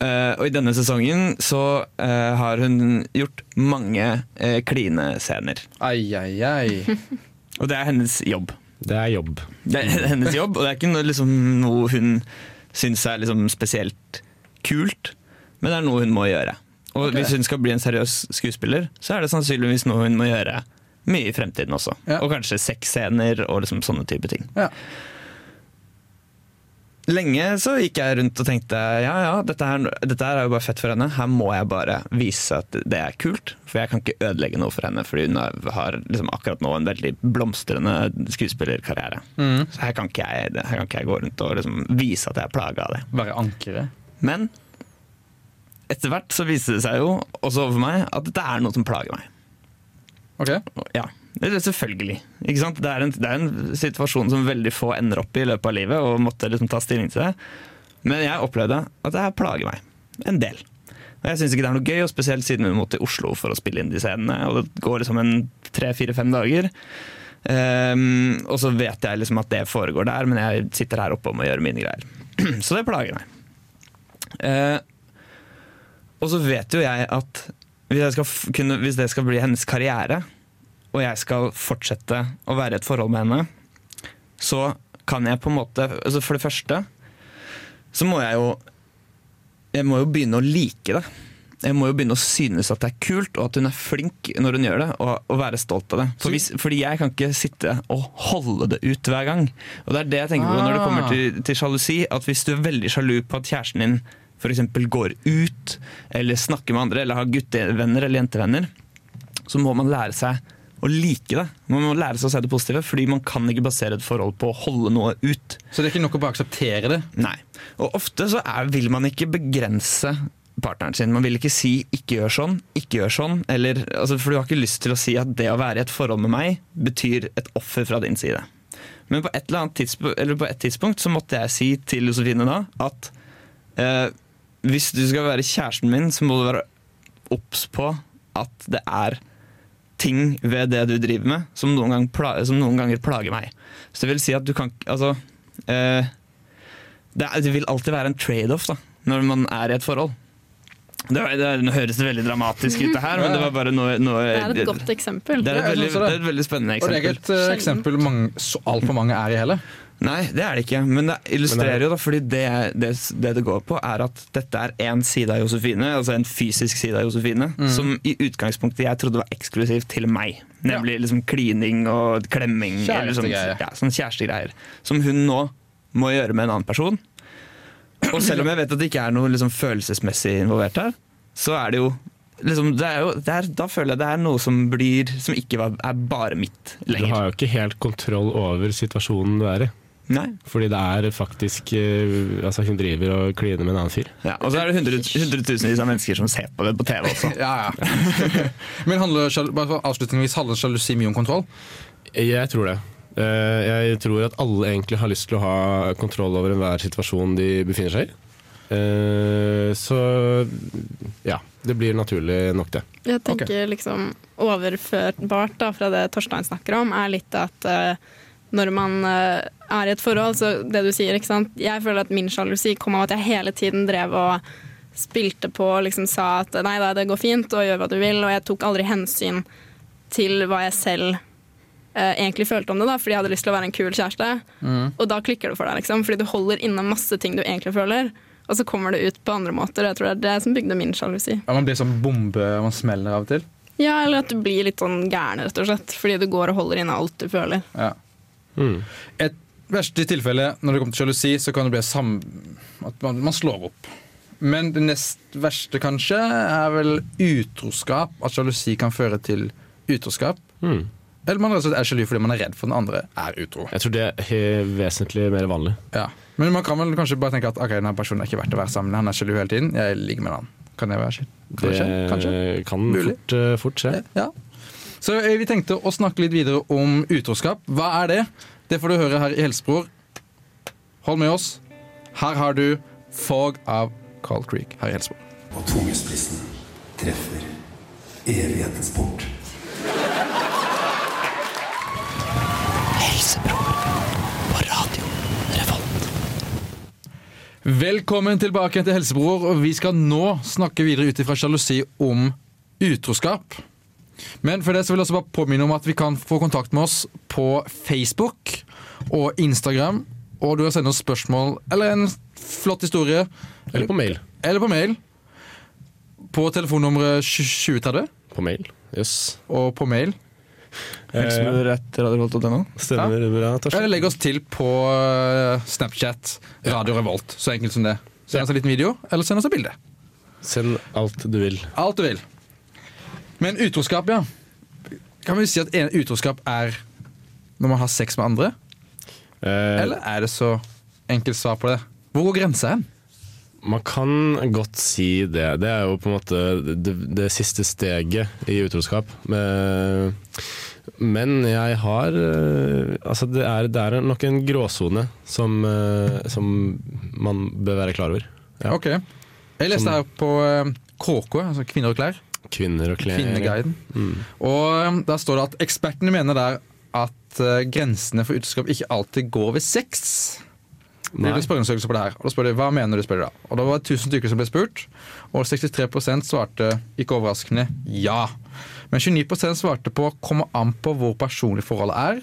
Speaker 6: Eh, og i denne sesongen så eh, har hun gjort mange eh, klinescener.
Speaker 2: Ai, ai, ai.
Speaker 6: Og det er hennes jobb.
Speaker 3: Det er jobb.
Speaker 6: Det er hennes jobb, og det er ikke noe, liksom, noe hun syns er liksom, spesielt kult, men det er noe hun må gjøre. Og hvis hun skal bli en seriøs skuespiller, så er det sannsynligvis noe hun må gjøre mye i fremtiden også.
Speaker 2: Ja.
Speaker 6: Og kanskje sexscener og liksom, sånne type ting.
Speaker 2: Ja.
Speaker 6: Lenge så gikk jeg rundt og tenkte ja ja, dette her, dette her er jo bare fett for henne. Her må jeg bare vise at det er kult, for jeg kan ikke ødelegge noe for henne. Fordi hun er- har liksom akkurat nå en veldig blomstrende skuespillerkarriere. Så her kan, ikke jeg, her kan ikke jeg gå rundt og liksom vise at jeg er plaga av det.
Speaker 2: Være ankeret.
Speaker 6: Men etter hvert så viste det seg jo også overfor meg at dette er noe som plager meg.
Speaker 2: Ok,
Speaker 6: Ja, det er selvfølgelig. Ikke sant? Det, er en, det er en situasjon som veldig få ender opp i i løpet av livet, og måtte liksom ta stilling til det. Men jeg opplevde at det her plager meg. en del. Og jeg syns ikke det er noe gøy, og spesielt siden vi må til Oslo for å spille inn de scenene. Og det går liksom en tre-fire-fem dager. Ehm, og så vet jeg liksom at det foregår der, men jeg sitter her oppe og må gjøre mine greier. så det plager meg. Eh, og så vet jo jeg at hvis, jeg skal f kunne, hvis det skal bli hennes karriere, og jeg skal fortsette å være i et forhold med henne, så kan jeg på en måte altså For det første så må jeg jo Jeg må jo begynne å like det. Jeg må jo begynne å synes at det er kult, og at hun er flink når hun gjør det, og, og være stolt av det. For hvis, fordi jeg kan ikke sitte og holde det ut hver gang. Og det er det jeg tenker på når det kommer til, til sjalusi, at hvis du er veldig sjalu på at kjæresten din f.eks. går ut, eller snakker med andre, eller har guttevenner eller jentevenner, så må man lære seg å like det. Man må lære seg å se det positive, fordi man kan ikke basere et forhold på å holde noe ut.
Speaker 2: Så det er ikke nok å bare akseptere det.
Speaker 6: Nei. Og ofte så er, vil man ikke begrense partneren sin. Man vil ikke si 'ikke gjør sånn', 'ikke gjør sånn', eller, altså, for du har ikke lyst til å si at det å være i et forhold med meg betyr et offer fra din side. Men på et, eller annet tidspunkt, eller på et tidspunkt så måtte jeg si til Josefine da at eh, hvis du skal være kjæresten min, så må du være obs på at det er ting ved det du driver med som noen, gang pla som noen ganger plager meg. Så det vil si at du kan ikke Altså. eh, det, er, det vil alltid være en trade-off da, når man er i et forhold. Det, var- det, er- nå høres det veldig dramatisk ut, det her, men det var bare noe, noe
Speaker 5: Det er et godt eksempel.
Speaker 6: det er et
Speaker 2: Ja, jeg
Speaker 6: veldig,
Speaker 2: synes
Speaker 6: det
Speaker 2: det.
Speaker 6: er et veldig spennende
Speaker 2: Og det er ikke
Speaker 6: eksempel.
Speaker 2: et eh, eksempel mange, så altfor mange er i heller.
Speaker 6: Nei, det er det ikke, men det illustrerer jo, da, fordi det det, det det går på, er at dette er én side av Josefine, altså en fysisk side av Josefine, som i utgangspunktet jeg trodde var eksklusiv til meg. Nemlig liksom klining og klemming. eller sånn-
Speaker 2: Kjærestegreier.
Speaker 6: Ja, sånn kjærestegreier. Som hun nå må gjøre med en annen person. Og selv om jeg vet at det ikke er noe liksom, følelsesmessig involvert her, så er det jo liksom, det er jo, det er, Da føler jeg det er noe som blir Som ikke var, er bare mitt
Speaker 3: Du
Speaker 6: lenger.
Speaker 3: har jo ikke helt kontroll over situasjonen du er i.
Speaker 6: Nei.
Speaker 3: Fordi det er faktisk eh, Altså, hun driver og kliner med en annen fyr.
Speaker 6: Ja, og så er det hundre- hundretusenvis av mennesker som ser på det på TV også.
Speaker 2: Ja, ja. Men handler, sjalu- bare for avslutningsvis handler sjalusi mye om kontroll?
Speaker 3: Jeg tror det. Eh, Jeg tror at alle egentlig har lyst til å ha kontroll over enhver situasjon de befinner seg i. Eh, Så ja, det blir naturlig nok, det.
Speaker 5: Jeg tenker liksom overførbart da, fra det Torstein snakker om, er litt at eh, når man eh, er i et forhold, så det du sier, ikke sant. Jeg føler at min sjalusi kom av at jeg hele tiden drev og spilte på og liksom sa at nei da, det går fint, og gjør hva du vil, og jeg tok aldri hensyn til hva jeg selv eh, egentlig følte om det, da, fordi jeg hadde lyst til å være en kul kjæreste. Og da klikker det for deg, liksom, fordi du holder inne masse ting du egentlig føler, og så kommer det ut på andre måter. og Jeg tror det er det som bygde min sjalusi.
Speaker 2: Ja, man blir sånn bombe man smeller av og til?
Speaker 5: Ja, eller at du blir litt sånn gæren, rett og slett. Fordi du går og holder inne alt du føler.
Speaker 2: Ja. Et verste tilfelle når det kommer til sjalusi, så kan det bli sam at man, man slår opp. Men det nest verste, kanskje, er vel utroskap. At sjalusi kan føre til utroskap. Eller man rett og slett er sjalu fordi man er redd for den andre er utro.
Speaker 3: Jeg tror det er he- vesentlig mer vanlig.
Speaker 2: Ja. Men man kan vel kanskje bare tenke at ok, denne personen er ikke verdt å være sammen med. Han er sjalu hele tiden. Jeg ligger med han. Kan det være sjalu? Kanskje?
Speaker 3: det
Speaker 2: kanskje?
Speaker 3: kan
Speaker 2: Mulig.
Speaker 3: fort, eh, fort skje.
Speaker 2: Ja. Så eh, vi tenkte å snakke litt videre om utroskap. Hva er det? Det får du høre her i Helsebror. Hold med oss. Her har du Fog av Carl Creek her i Helsebror.
Speaker 7: Og tungespissen treffer evighetens port.
Speaker 2: Velkommen tilbake til Helsebror, og vi skal nå snakke videre ut ifra sjalusi om utroskap. Men for det så vil jeg også bare påminne om at vi kan få kontakt med oss på Facebook og Instagram. Og du kan sende oss spørsmål eller en flott historie
Speaker 3: Eller på mail.
Speaker 2: eller på mail. På telefonnummeret 2030
Speaker 3: På mail, jøss.
Speaker 2: og på mail.
Speaker 3: Eh,
Speaker 6: Helsebror.radiovolt.no.
Speaker 3: Stemmer bra, Torstein.
Speaker 2: Eller legg oss til på eh, Snapchat, Radio Revolt. Så enkelt som det. Send oss en liten video, eller send oss et bilde.
Speaker 3: Send alt du vil.
Speaker 2: Alt du vil. Men utroskap, ja. Kan vi si at en utroskap er når man har sex med andre?
Speaker 3: Eh,
Speaker 2: Eller er det så enkelt svar på det? Hvor går grensa hen?
Speaker 3: Man kan godt si det. Det er jo på en måte det, det siste steget i utroskap. Men men jeg har eh, Altså, det er, det er nok en gråsone som, eh, som man bør være klar over. Ja.
Speaker 2: Ok. Jeg leste her på eh, KK, altså Kvinner og klær.
Speaker 3: Kvinner og klær.
Speaker 2: Kvinneguiden. Og um, der står det at ekspertene mener der at eh, grensene for utroskap ikke alltid går ved sex. Det
Speaker 3: Nei.
Speaker 2: er spørreundersøkelse på det her. Og da spør de, Hva mener du? spør de da. Og da var det 1000 stykker som ble spurt, og 63 svarte ikke overraskende ja. Men 29 svarte på kommer an på hvor personlig forholdet er,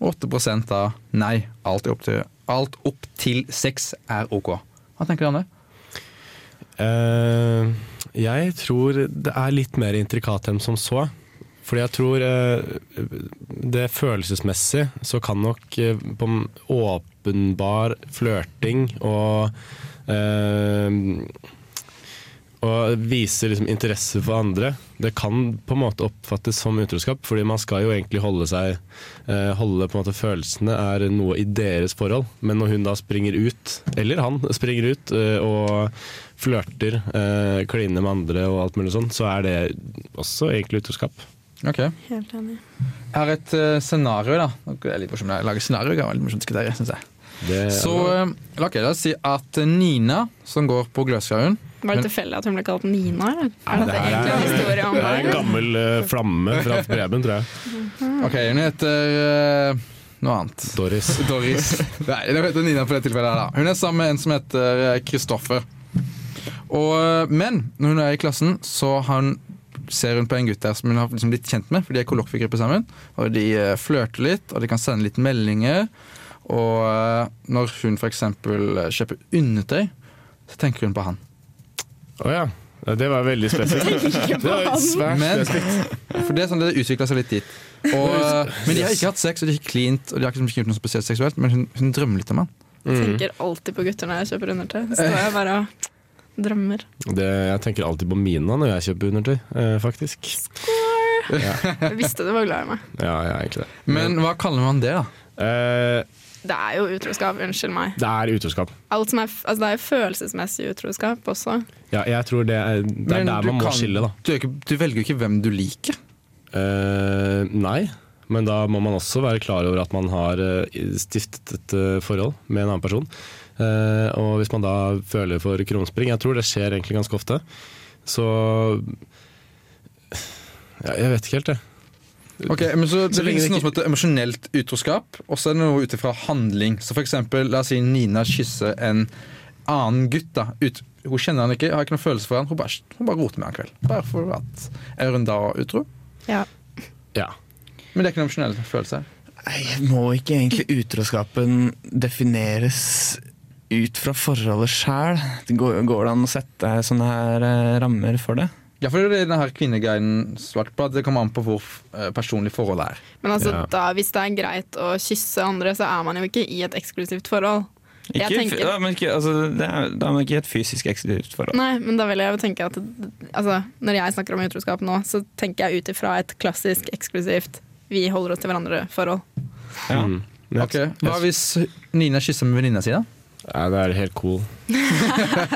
Speaker 2: og 8 da nei. Alt opp til, alt opp til sex er ok. Hva tenker du om det?
Speaker 3: Eh, jeg tror det er litt mer intrikat enn som så. Fordi jeg tror eh, det følelsesmessig så kan nok eh, på en åpenbar flørting og eh, og vise liksom interesse for andre. Det kan på en måte oppfattes som utroskap, fordi man skal jo egentlig holde seg eh, Holde på en måte følelsene er noe i deres forhold, men når hun da springer ut, eller han springer ut eh, og flørter, eh, kliner med andre og alt mulig sånn, så er det også egentlig utroskap.
Speaker 2: Ok.
Speaker 5: Helt enig.
Speaker 2: Jeg har et eh, scenario, da. Det er litt morsomt. Jeg lager scenario, det er veldig morsomt kriterium, synes jeg.
Speaker 3: Det,
Speaker 2: Så eh, la ikke jeg si at Nina, som går på Gløshaugen
Speaker 5: Var
Speaker 2: Men-
Speaker 5: det tilfeldig at hun ble kalt Nina? Eller? Er
Speaker 3: det
Speaker 5: dette
Speaker 3: her
Speaker 5: egentlig en
Speaker 3: er-
Speaker 5: historie om
Speaker 3: det er en
Speaker 5: meg?
Speaker 3: gammel eh, flamme fra Preben, tror jeg.
Speaker 2: Ok, hun heter eh, noe annet.
Speaker 3: Doris.
Speaker 2: Doris. Nei, hun heter Nina på det tilfellet her, da. Hun er sammen med en som heter eh, Kristoffer. Og, eh, men når hun er i klassen, så han, ser hun på en gutt der som hun har liksom blitt kjent med, for de er kollokviegruppe sammen. Og de eh, flørter litt, og de kan sende litt meldinger. Og eh, når hun f.eks. kjøper undertøy, så tenker hun på han.
Speaker 3: Å ja. Ja, Det var veldig spesifikt. Det var svært
Speaker 2: Men-
Speaker 3: spesifikt.
Speaker 2: For det er sånn det utvikla seg litt dit. Og, eh, men de har ikke hatt sex, og de har ikke klint, og de har ikke gjort noe spesielt seksuelt, men hun, hun drømmer litt om han.
Speaker 5: Jeg
Speaker 3: Mm.
Speaker 5: tenker alltid på gutter når jeg kjøper undertøy. Så står jeg bare og drømmer.
Speaker 3: Det, jeg tenker alltid på Mina når jeg kjøper undertøy, eh, faktisk.
Speaker 5: Jeg visste du var glad i meg.
Speaker 3: Ja, jeg er egentlig det.
Speaker 2: Men hva kaller man det, da?
Speaker 3: Eh,
Speaker 5: Det er jo utroskap, unnskyld meg.
Speaker 3: det er utroskap.
Speaker 5: Alt som er, f- altså det er jo følelsesmessig utroskap også.
Speaker 3: Ja, jeg tror det er, det er
Speaker 2: Men
Speaker 3: der
Speaker 2: du
Speaker 3: man må
Speaker 2: kan-
Speaker 3: skille, da.
Speaker 2: Du, er ikke, du velger jo ikke hvem du liker.
Speaker 3: Eh, nei, men da må man også være klar over at man har eh, stiftet et eh, forhold med en annen person. Eh, og hvis man da føler for krumspring Jeg tror det skjer egentlig ganske ofte. Så ja, Jeg vet ikke helt, jeg.
Speaker 2: Ok, men så Det
Speaker 3: Så lenge
Speaker 2: finnes
Speaker 3: det
Speaker 2: noe
Speaker 3: ikke-
Speaker 2: som heter emosjonelt utroskap, og så er det noe ut ifra handling. Så for eksempel, La oss si Nina kysser en annen gutt. da ut, Hun kjenner han ikke, har ikke noen følelse for han Hun bare, hun bare roter med han kveld. Bare for at Er hun da utro?
Speaker 5: Ja.
Speaker 3: Ja.
Speaker 2: Men det er ikke noen emosjonell følelse.
Speaker 6: Nei, Må ikke egentlig utroskapen defineres ut fra forholdet sjæl? Går, går det an å sette sånne her eh, rammer for det?
Speaker 2: Ja, for det er det denne her kvinneguiden svarte på, at det kommer an på hvor eh, personlig forholdet er.
Speaker 5: Men altså,
Speaker 3: Ja.
Speaker 5: da, hvis det er greit å kysse andre, så er man jo ikke i et eksklusivt forhold. Jeg
Speaker 6: Ikke,
Speaker 5: tenker-
Speaker 6: da, men ikke, altså, det er, da er man ikke i et fysisk eksklusivt forhold.
Speaker 5: Nei, men da vil jeg jo tenke at altså, Når jeg snakker om utroskap nå, så tenker jeg ut ifra et klassisk eksklusivt vi holder oss til hverandre-forhold.
Speaker 6: Ja.
Speaker 3: Mm.
Speaker 2: Ok, Hva hvis Nina kysser med venninna si, da?
Speaker 3: Nei, det er helt cool.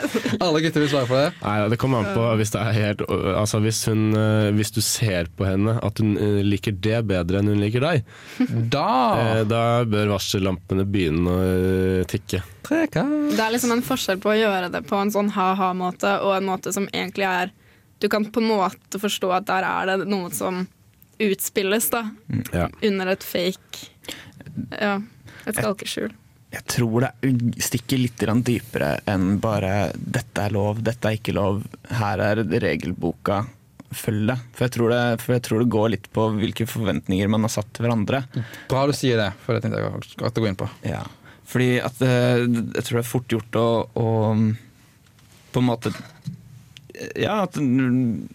Speaker 2: Alle gutter vil svare på det.
Speaker 3: Nei, Det kommer an på hvis det er helt Altså hvis, hun, eh, hvis du ser på henne at hun eh, liker det bedre enn hun liker deg, eh,
Speaker 2: Da
Speaker 3: da bør varsellampene begynne å eh, tikke.
Speaker 2: Trekant.
Speaker 5: Det er liksom en forskjell på å gjøre det på en sånn ha-ha-måte og en måte som egentlig er Du kan på en måte forstå at der er det noe som utspilles, da.
Speaker 3: Ja.
Speaker 5: Under et fake Ja, et skalkeskjul.
Speaker 6: Jeg tror det er- stikker litt grann dypere enn bare 'dette er lov, dette er ikke lov', 'her er regelboka', følg det. For jeg tror det, for jeg tror det går litt på hvilke forventninger man har satt til hverandre.
Speaker 2: Bra du sier det, for det tenkte jeg faktisk at jeg går inn på.
Speaker 6: Ja, fordi at eh, jeg tror det er fort gjort å, å mm, på en måte Ja, at mm,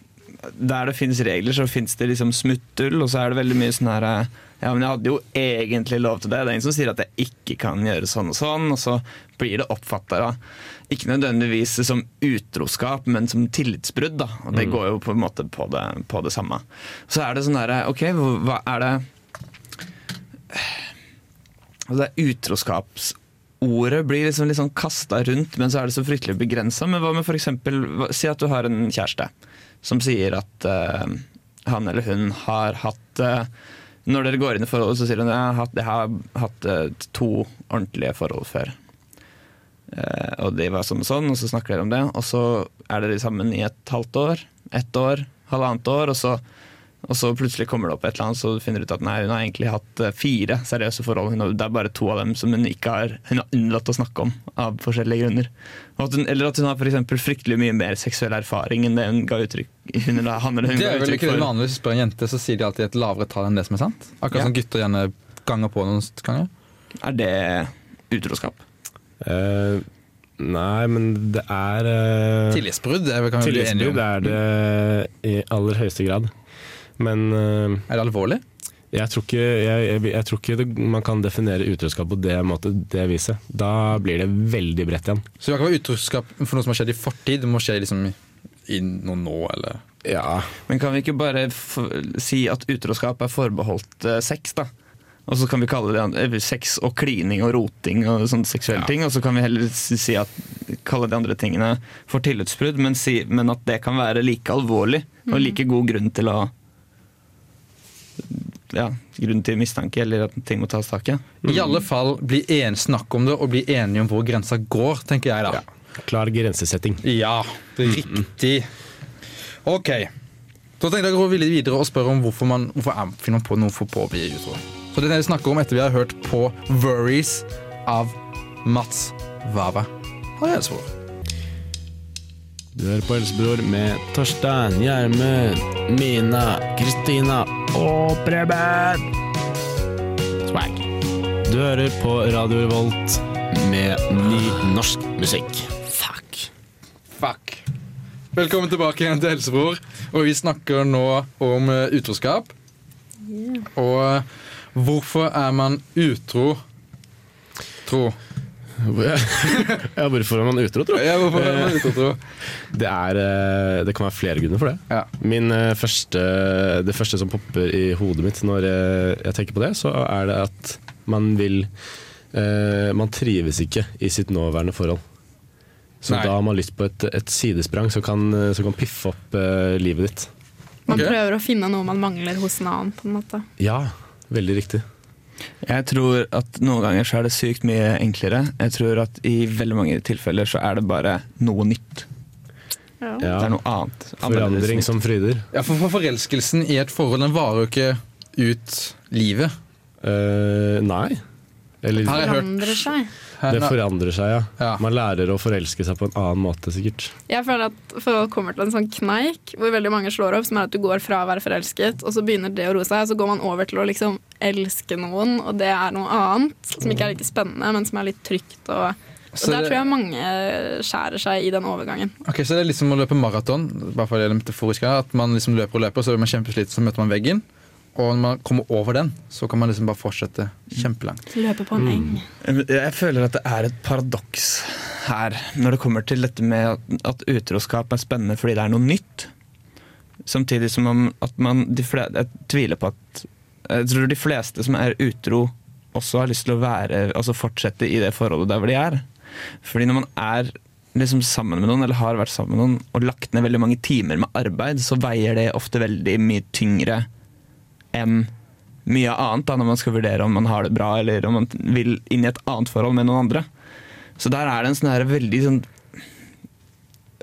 Speaker 6: der det finnes regler, så finnes det liksom smutthull, og så er det veldig mye sånn her eh, Ja, men jeg hadde jo egentlig lov til det. Det er ingen som sier at jeg ikke kan gjøre sånn og sånn, og så blir det oppfatta ikke nødvendigvis som utroskap, men som tillitsbrudd, da. Og det går jo på en måte på det, på det samme. Så er det sånn herre OK, hva er det Altså det er utroskapsordet blir liksom litt sånn kasta rundt, men så er det så fryktelig begrensa. Men hva med for eksempel, hva- si at du har en kjæreste som sier at eh, han eller hun har hatt eh, Når dere går inn i forholdet, så sier hun at jeg har hatt, jeg har hatt eh, to ordentlige forhold før. Eh, og de var sånn og sånn, og så snakker dere om det. Og så er dere sammen i et halvt år, ett år, halvannet år, og så, og så plutselig kommer det opp et eller annet, så du finner du ut at nei, hun har egentlig hatt eh, fire seriøse forhold. Hun har, det er bare to av dem som hun ikke har Hun har unnlatt å snakke om av forskjellige grunner. Og at hun, eller at hun har for eksempel fryktelig mye mer seksuell erfaring enn det hun ga uttrykk hun, eller han eller hun
Speaker 2: Det
Speaker 6: ga
Speaker 2: er vel
Speaker 6: uttrykk
Speaker 2: ikke det
Speaker 6: for.
Speaker 2: vanligvis spør en jente, så sier de alltid et lavere tall enn det som er sant. Akkurat
Speaker 6: Ja.
Speaker 2: som gutter gjerne ganger på noen ganger.
Speaker 6: Er det utroskap?
Speaker 3: Eh, nei, men det er eh,
Speaker 2: Tillitsbrudd er vel kanskje enige
Speaker 3: Tillitsbrudd
Speaker 2: om.
Speaker 3: er det eh, i aller høyeste grad. Men eh,
Speaker 2: Er det alvorlig?
Speaker 3: jeg tror ikke, jeg, jeg, jeg tror ikke det, man kan definere utroskap på det, måte, det viset. Da blir det veldig bredt igjen.
Speaker 2: Så det kan ikke være utroskap for noe som har skjedd i fortid, det må skje liksom i noe nå, eller
Speaker 3: Ja,
Speaker 6: Men kan vi ikke bare f si at utroskap er forbeholdt eh, sex, da? Og så kan vi kalle det an- eh, sex og klining og roting og sånne seksuelle ting. Og så kan vi heller s- si at, kalle de andre tingene for tillitsbrudd, men, si, men at det kan være like alvorlig og like god grunn til å Ja, grunn til mistanke eller at ting må tas tak i.
Speaker 2: I alle fall bli en, snakk om det, og bli enige om hvor grensa går, tenker jeg da.
Speaker 3: klar grensesetting.
Speaker 2: Ja, riktig. Ok. Så tenkte jeg å gå litt videre og spørre om hvorfor man hvorfor er, finner man på noe for på å bli utro. Så det er det vi snakker om etter vi har hørt på Worries av Mats Vava. Har jeg elsket.
Speaker 3: Du hører på Helsebror med Torstein, Gjermund, Mina, Kristina og Preben. Swag. Du hører på Radio Revolt med ny norsk musikk. Fuck.
Speaker 2: Fuck. Velkommen tilbake igjen til Helsebror. Og vi snakker nå om eh, utroskap. Og eh, hvorfor er man utro? Tro.
Speaker 3: ja, hvorfor er man utro, tror
Speaker 2: Ja,
Speaker 3: jeg?
Speaker 2: hvorfor er man utro, tro?
Speaker 3: Det, er, eh, det kan være flere grunner for det.
Speaker 2: Ja.
Speaker 3: Min eh, første, det første som popper i hodet mitt når eh, jeg tenker på det, så er det at man vil eh, Man trives ikke i sitt nåværende forhold. Så
Speaker 2: Nei.
Speaker 3: da har man lyst på et, et sidesprang som kan, som kan piffe opp eh, livet ditt.
Speaker 5: Man
Speaker 2: Ok.
Speaker 5: prøver å finne noe man mangler hos en annen, på en måte.
Speaker 3: Ja, veldig riktig.
Speaker 6: Jeg tror at noen ganger så er det sykt mye enklere. Jeg tror at i veldig mange tilfeller så er det bare noe nytt.
Speaker 3: Ja.
Speaker 5: Ja.
Speaker 6: Det er noe annet. Annerledes
Speaker 3: Forandring
Speaker 6: nytt.
Speaker 3: som fryder.
Speaker 2: Ja, for, for forelskelsen i et forhold den varer jo ikke ut livet.
Speaker 3: Eh, nei. Eller
Speaker 2: Her er- jeg hørt.
Speaker 5: Forandrer seg.
Speaker 2: Her-
Speaker 3: det forandrer seg, ja.
Speaker 2: Ja.
Speaker 3: Man lærer å forelske seg på en annen måte, sikkert.
Speaker 5: Jeg føler at forhold kommer til en sånn kneik hvor veldig mange slår opp, som er at du går fra å være forelsket, og så begynner det å roe seg, og så går man over til å liksom elske noen, og det er noe annet som ikke er like spennende, men som er litt trygt. Og, og
Speaker 2: Så
Speaker 5: der
Speaker 2: det-
Speaker 5: tror jeg mange skjærer seg i den overgangen.
Speaker 2: Ok, Så det er litt som å løpe maraton. bare for å gjøre det metaforisk her, At man liksom løper og løper, så er man kjempesliten, så møter man veggen. Og når man kommer over den, så kan man liksom bare fortsette kjempelangt.
Speaker 5: Løpe på en
Speaker 2: Mm.
Speaker 5: eng.
Speaker 6: Jeg føler at det er et paradoks her, når det kommer til dette med at- at utroskap er spennende fordi det er noe nytt. Samtidig som om at man de fleste, Jeg tviler på at Jeg tror de fleste som er utro, også har lyst til å være Altså fortsette i det forholdet der hvor de er. Fordi når man er liksom sammen med noen, eller har vært sammen med noen, og lagt ned veldig mange timer med arbeid, så veier det ofte veldig mye tyngre enn mye annet da, når man skal vurdere om man har det bra eller om man vil inn i et annet forhold med noen andre. Så der er det en sånn her veldig sånn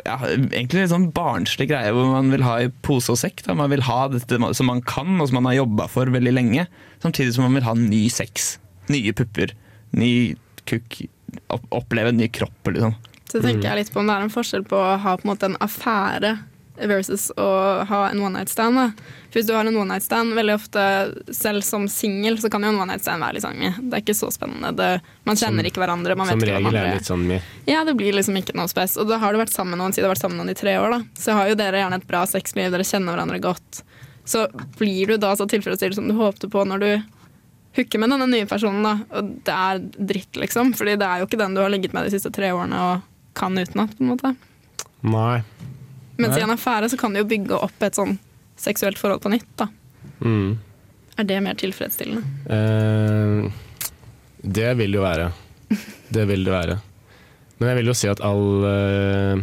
Speaker 6: ja, egentlig litt sånn barnslig greie hvor man vil ha i pose og sekk. Da. Man vil ha dette man- som man kan, og som man har jobba for veldig lenge. Samtidig som man vil ha ny sex. Nye pupper. Ny kukk. opp- Oppleve en ny kropp, liksom.
Speaker 5: Så
Speaker 3: Mm.
Speaker 5: tenker jeg litt på om det er en forskjell på å ha på en måte en affære versus å ha en one night stand. Da. For hvis du har en one night stand, veldig ofte selv som singel, så kan jo en one night stand være litt sånn meh, Det er ikke så spennende. Det, man kjenner ikke hverandre. Man
Speaker 3: Som
Speaker 5: vet ikke
Speaker 3: regel
Speaker 5: hvem
Speaker 3: er
Speaker 5: andre
Speaker 3: det litt sånn mye.
Speaker 5: Ja, det blir liksom ikke noe spes. Og da har du vært sammen med noen, si du har vært sammen med noen i tre år, da. Så har jo dere gjerne et bra sexliv, dere kjenner hverandre godt. Så blir du da så tilfredsstilt som du håpte på når du hooker med denne nye personen, da. Og det er dritt, liksom. Fordi det er jo ikke den du har ligget med de siste tre årene og kan utenat, på en måte.
Speaker 3: Nei.
Speaker 5: Mens
Speaker 2: Nei.
Speaker 5: i en affære så kan du jo bygge opp et sånn seksuelt forhold på nytt, da.
Speaker 3: Mm.
Speaker 5: Er det mer tilfredsstillende?
Speaker 3: Eh, det vil det jo være. Det vil det være. Men jeg vil jo si at all eh,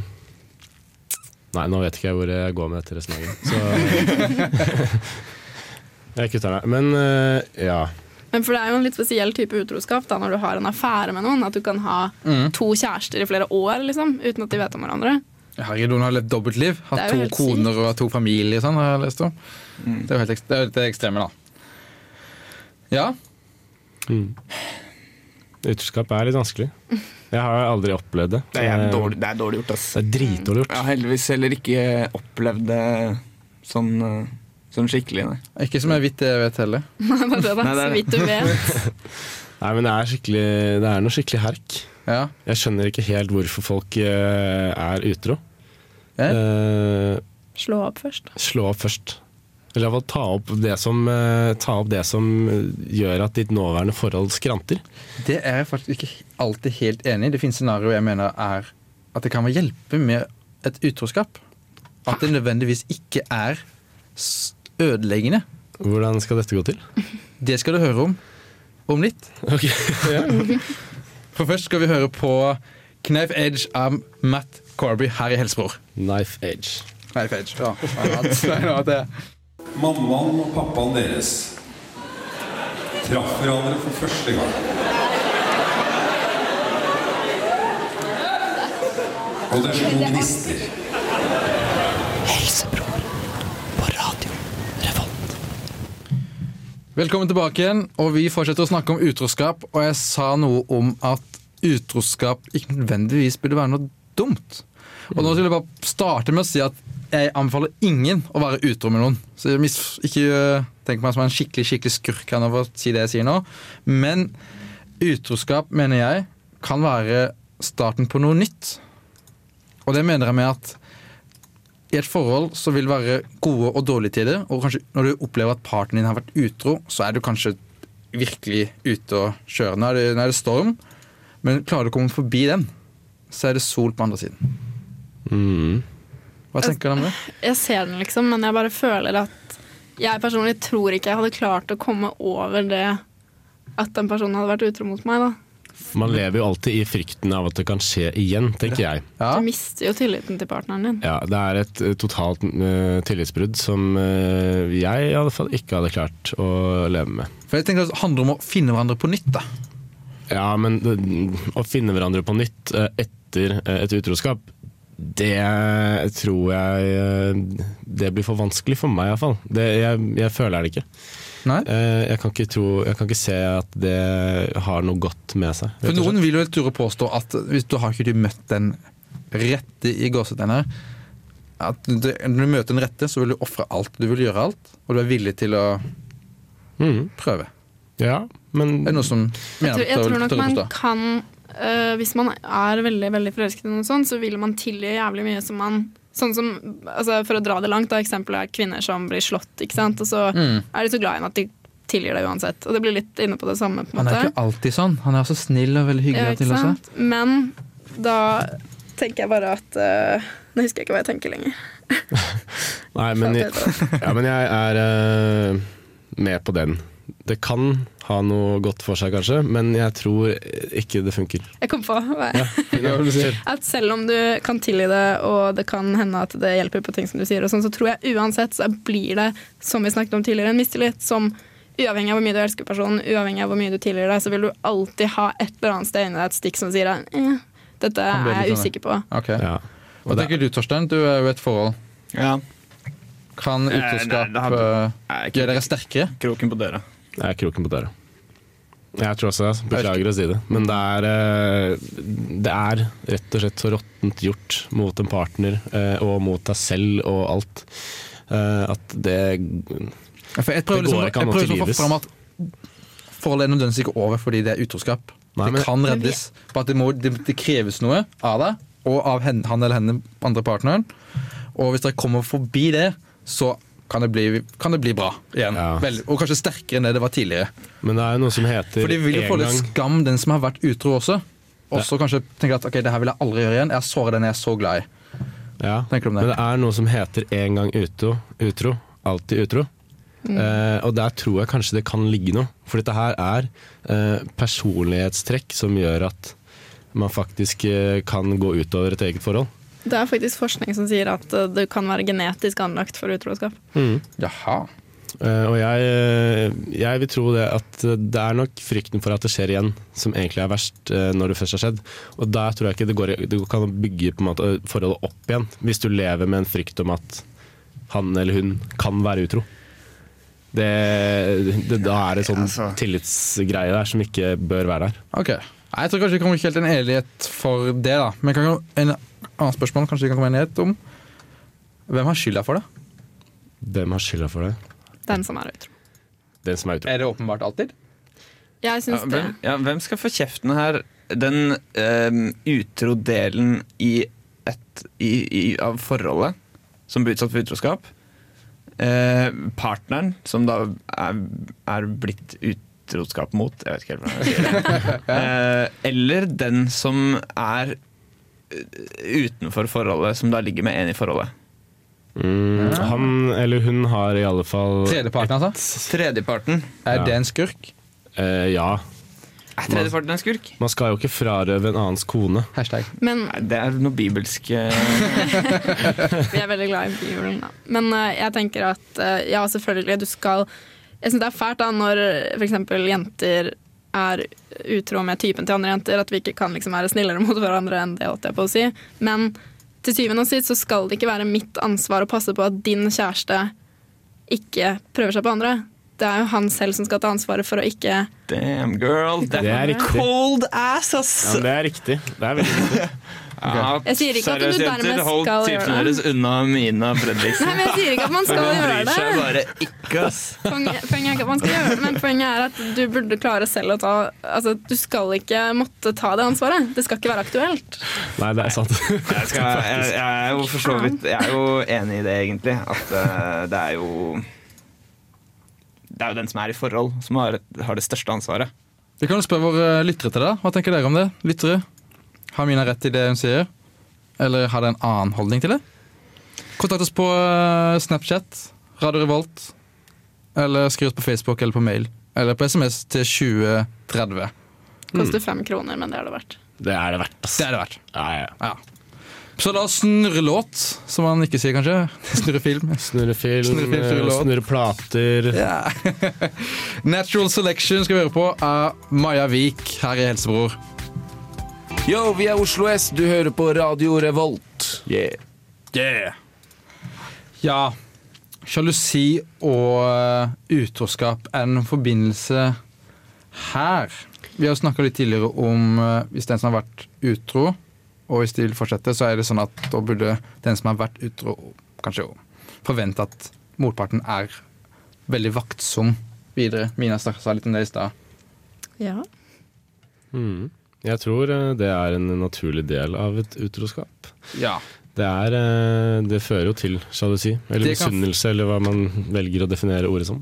Speaker 3: Nei, nå vet ikke jeg hvor jeg går med dette resonnementet. Så jeg kutter det. Men eh, ja.
Speaker 5: Men for det er jo en litt spesiell type utroskap da, når du har en affære med noen. At du kan ha to kjærester i flere år liksom, uten at de vet om hverandre.
Speaker 2: Herregud, hun har levd dobbeltliv.
Speaker 5: Det
Speaker 2: Hatt
Speaker 5: er
Speaker 2: to
Speaker 5: jo helt
Speaker 2: koner og hatt to familier. Sånn, har jeg lest om. Det er jo helt ekst- det er jo det ekstreme, da. Ja.
Speaker 3: Utroskap er litt vanskelig. Jeg har aldri opplevd det.
Speaker 6: Det er dårlig, det er dårlig gjort, ass.
Speaker 3: Det er dritdårlig gjort.
Speaker 6: Jeg har Eh, heldigvis heller ikke opplevd det sånn, eh, sånn skikkelig, nei.
Speaker 2: Ikke som jeg vidt jeg vet heller.
Speaker 5: Nei, det er det, da.
Speaker 6: Nei, det
Speaker 5: Så
Speaker 6: er det.
Speaker 5: vidt du vet.
Speaker 3: Nei, men det er, skikkelig, det er noe skikkelig herk.
Speaker 2: Ja.
Speaker 3: Jeg skjønner ikke helt hvorfor folk eh, er utro.
Speaker 2: Ja.
Speaker 3: Eh,
Speaker 5: Slå opp først.
Speaker 3: slå opp først. Eller i hvert fall ta opp det som, eh, ta opp det som eh, gjør at ditt nåværende forhold skranter.
Speaker 2: Det er jeg faktisk ikke alltid helt enig i. Det finnes scenarioer jeg mener er at det kan hjelpe med et utroskap. At det nødvendigvis ikke er s- ødeleggende.
Speaker 3: Hvordan skal dette gå til?
Speaker 2: Det skal du høre om om litt.
Speaker 3: Ok, ja.
Speaker 2: For først skal vi høre på Knife Edge av Matt Corby her i Helsebror.
Speaker 3: Knife edge.
Speaker 2: Knife Edge, ja. Nei, Matt. Nei, nå at det-
Speaker 7: Mammaen og pappaen deres traff hverandre for første gang. Og det slo gnister.
Speaker 2: Velkommen tilbake igjen, og vi fortsetter å snakke om utroskap. Og jeg sa noe om at utroskap ikke nødvendigvis burde være noe dumt. Og nå vil jeg bare starte med å si at jeg anbefaler ingen å være utro med noen. Så jeg mis ikke øh, tenk meg som en skikkelig skikkelig skurk her nå for å si det jeg sier nå. Men utroskap, mener jeg, kan være starten på noe nytt. Og det mener jeg med at i et forhold så vil det være gode og dårlige tider, og kanskje når du opplever at parten din har vært utro, så er du kanskje virkelig ute og kjører. Nå er det, nå er det storm, men klarer du å komme forbi den, så er det sol på andre siden.
Speaker 3: Mm.
Speaker 2: Hva
Speaker 5: Altså,
Speaker 2: tenker du om det?
Speaker 5: Jeg ser den, liksom, men jeg bare føler at jeg personlig tror ikke jeg hadde klart å komme over det at den personen hadde vært utro mot meg. da.
Speaker 3: Man lever jo alltid i frykten av at det kan skje igjen, tenker jeg.
Speaker 2: Ja,
Speaker 5: Du mister jo tilliten til partneren din.
Speaker 3: Ja, det er et eh, totalt eh, tillitsbrudd som eh, jeg i alle fall ikke hadde klart å leve med.
Speaker 2: for jeg tenker at Det handler om å finne hverandre på nytt. da.
Speaker 3: Ja, men det- å finne hverandre på nytt eh, etter eh, et utroskap, det tror jeg eh, Det blir for vanskelig for meg, iallfall. Jeg, jeg føler det ikke.
Speaker 2: Nei?
Speaker 3: Eh, Jeg kan ikke, tro, jeg kan ikke se at det har noe godt med seg.
Speaker 2: For
Speaker 3: rett og slett.
Speaker 2: Noen vil jo ture å påstå at hvis du har ikke du møtt den rette i gåsetegner at det- Når du møter den rette, så vil du ofre alt. Du vil gjøre alt, og du er villig til å
Speaker 3: Mhm.
Speaker 2: prøve.
Speaker 3: Ja, men
Speaker 2: Er det noen som
Speaker 5: Jeg
Speaker 2: mener
Speaker 5: tror, jeg tror
Speaker 2: at
Speaker 5: nok
Speaker 2: det er
Speaker 5: man
Speaker 2: utroskap?
Speaker 5: kan øh, Hvis man er veldig veldig forelsket i noen sånn, så vil man tilgi jævlig mye som man Sånn som, altså For å dra det langt, da, eksempelet er kvinner som blir slått. ikke sant? Og så
Speaker 2: Mm.
Speaker 5: er de så glad i henne at de tilgir det uansett. Og det blir litt inne på det samme. på en
Speaker 2: Han er
Speaker 5: måte.
Speaker 2: ikke alltid sånn. Han er så snill og veldig hyggelig
Speaker 5: Ja, ikke
Speaker 2: til også.
Speaker 5: sant? Men da tenker jeg bare at øh, Nå husker jeg ikke hva jeg tenker lenger.
Speaker 3: Nei, men,
Speaker 5: Faen, Peter.
Speaker 3: ja, men jeg er eh, med på den. Det kan ha noe godt for seg, kanskje, men jeg tror ikke det funker.
Speaker 5: Jeg kom på hva jeg-
Speaker 3: Kjør.
Speaker 5: at selv om du kan tilgi det, og det kan hende at det hjelper på ting som du sier, og sånn, så tror jeg uansett så blir det, som vi snakket om tidligere, en mistillit som Uavhengig av hvor mye du elsker personen, uavhengig av hvor mye du tilgir deg, så vil du alltid ha et eller annet sted inni deg et stikk som sier deg eh, dette
Speaker 2: ble
Speaker 5: er jeg
Speaker 2: litt sånn,
Speaker 5: usikker på.
Speaker 2: Ok.
Speaker 3: Ja.
Speaker 2: Hva tenker du, Torstein? Du er jo i et forhold.
Speaker 6: Ja.
Speaker 2: Kan
Speaker 6: Nei, nei,
Speaker 2: utroskap
Speaker 6: det har-
Speaker 2: eh,
Speaker 6: Nei, ikke-
Speaker 2: gjøre dere sterkere?
Speaker 6: Kroken på døra.
Speaker 3: Det er kroken på døra. Jeg tror også det. altså. Beklager å si det. Men det er, eh, det er rett og slett så råttent gjort mot en partner eh, og mot deg selv og alt. eh, At det
Speaker 2: Ja, For jeg prøver
Speaker 3: Det går
Speaker 2: liksom, jeg
Speaker 3: ikke an å
Speaker 2: prøver liksom å få
Speaker 3: tilgives.
Speaker 2: fram at forholdet er nødvendigvis ikke over fordi det er utroskap.
Speaker 3: Nei, men-
Speaker 2: det kan reddes. Bare at det, må, det, det kreves noe av deg og av hen, han eller henne, andre partneren. Og hvis dere kommer forbi det, så kan det bli, kan det bli bra igjen.
Speaker 3: Ja.
Speaker 2: Vel, og kanskje sterkere enn det det var tidligere.
Speaker 3: Men det er jo noe som heter
Speaker 2: For de vil jo få
Speaker 3: en
Speaker 2: litt
Speaker 3: gang
Speaker 2: skam, den som har vært utro også. Og så kanskje tenker at ok, det her vil jeg aldri gjøre igjen. Jeg har såret den jeg er så glad i.
Speaker 3: Ja,
Speaker 2: Tenker du om det?
Speaker 3: Men det er noe som heter en gang utro, utro alltid utro.
Speaker 2: Mm.
Speaker 3: Eh, og der tror jeg kanskje det kan ligge noe. For dette her er eh, personlighetstrekk som gjør at man faktisk eh, kan gå utover et eget forhold.
Speaker 5: Det eh, er faktisk forskning som sier at øh, du kan være genetisk anlagt for utroskap.
Speaker 2: Jaha.
Speaker 3: Eh, og jeg, eh, jeg vil tro det at eh, det er nok frykten for at det skjer igjen som egentlig er verst eh, når det først har skjedd. Og der tror jeg ikke det går, det kan bygge på en måte eh, forholdet opp igjen, hvis du lever med en frykt om at han eller hun kan være utro. Det, det, da er det sånn
Speaker 6: altså.
Speaker 3: tillitsgreie der som ikke bør være der.
Speaker 2: Ok. Nei, Jeg tror kanskje vi kommer ikke helt en enighet for det, da. Men kan, en annet spørsmål kanskje vi kan komme en enighet om. Hvem har skylda for det?
Speaker 3: Hvem har skylda for det?
Speaker 5: Den som er utro.
Speaker 3: Den som er utro.
Speaker 2: Er det åpenbart alltid?
Speaker 5: Jeg
Speaker 6: Ja,
Speaker 5: syns det.
Speaker 6: hvem, ja, hvem skal få kjeften her? Den ehm, utro delen i et, i, i, av forholdet som blir utsatt for utroskap. Eh, partneren som da er, er blitt utroskap mot. Jeg vet ikke helt hvordan jeg sier det. Eh, eller den som er eh, utenfor forholdet, som da ligger med en i forholdet.
Speaker 3: Mm, han eller hun har i alle fall
Speaker 2: Tredjeparten, altså?
Speaker 6: Tredjeparten.
Speaker 2: Er
Speaker 3: Ja.
Speaker 2: det en skurk?
Speaker 3: Eh, Ja.
Speaker 6: Er tredjeparten en skurk?
Speaker 3: Man skal jo ikke frarøve en annens kone.
Speaker 2: Hashtag.
Speaker 5: Men
Speaker 6: Nei, det er noe bibelsk eh,
Speaker 5: Vi er veldig glad i bibelen, da. Men eh, jeg tenker at eh, ja, selvfølgelig, du skal Jeg syns det er fælt da når f.eks. jenter er utro med typen til andre jenter, at vi ikke kan liksom være snillere mot hverandre enn det, holdt jeg på å si. Men til syvende og sist så skal det ikke være mitt ansvar å passe på at din kjæreste ikke prøver seg på andre. Det er jo han selv som skal ta ansvaret for å ikke
Speaker 6: Damn girl,
Speaker 3: Det er riktig.
Speaker 6: cold ass, ass!
Speaker 3: Ja, men det er riktig. Det er veldig riktig.
Speaker 6: Ja,
Speaker 5: Jeg sier ikke at du
Speaker 6: seriøst,
Speaker 5: dermed
Speaker 6: jenter, hold
Speaker 5: skal gjøre
Speaker 6: tipsene
Speaker 5: det.
Speaker 6: deres unna Mina Fredriksen.
Speaker 5: Nei, men jeg sier ikke at man skal
Speaker 6: Hun
Speaker 5: gjøre
Speaker 6: bryr
Speaker 5: det.
Speaker 6: seg bare ikke, ass.
Speaker 5: Poenget, poenget er ikke at man skal gjøre det, men poenget er at du burde klare selv å ta Altså, du skal ikke måtte ta det ansvaret. Det skal ikke være aktuelt.
Speaker 3: Nei, det er sant.
Speaker 6: Jeg, skal, jeg, jeg er jo for så vidt Jeg er jo enig i det, egentlig. At eh, det er jo Det er jo den som er i forhold, som har, har det største ansvaret.
Speaker 2: Vi kan jo spørre våre eh, lyttere til det. da. Hva tenker dere om det? Lyttere, Har Mina rett i det hun sier? Eller har det en annen holdning til det? Kontakt oss på eh, Snapchat, Radio Revolt, eller skriv oss på Facebook eller på mail. Eller på SMS til 2030.
Speaker 5: Koster fem kroner, men det er det verdt.
Speaker 3: Det er det verdt, ass.
Speaker 2: Det er det verdt.
Speaker 3: Ja, ja.
Speaker 2: Ja. Så da snurre låt, som man ikke sier kanskje. Snurre film.
Speaker 3: Snurre film, eh,
Speaker 2: Snurre film, snurre låt.
Speaker 3: snurre plater.
Speaker 2: Ja. Natural Selection skal vi høre på av Maja Vik her i Helsebror.
Speaker 8: Yo, vi er Oslo S. Du hører på Radio Revolt.
Speaker 6: Yeah.
Speaker 2: Ja. Sjalusi og eh, utroskap er en forbindelse her. Vi har snakka litt tidligere om eh, hvis den som har vært utro, og hvis de vil fortsette, så er det sånn at da burde den som har vært utro, kanskje forvente at motparten er veldig vaktsom videre. Mina snakka sa litt om det i stad.
Speaker 5: Ja.
Speaker 3: Mm. Jeg tror eh, det er en naturlig del av et utroskap.
Speaker 2: Ja.
Speaker 3: Det, er, eh, det fører jo til sjalusi, eller
Speaker 2: Det kan-
Speaker 3: misunnelse, eller hva man velger å definere ordet som.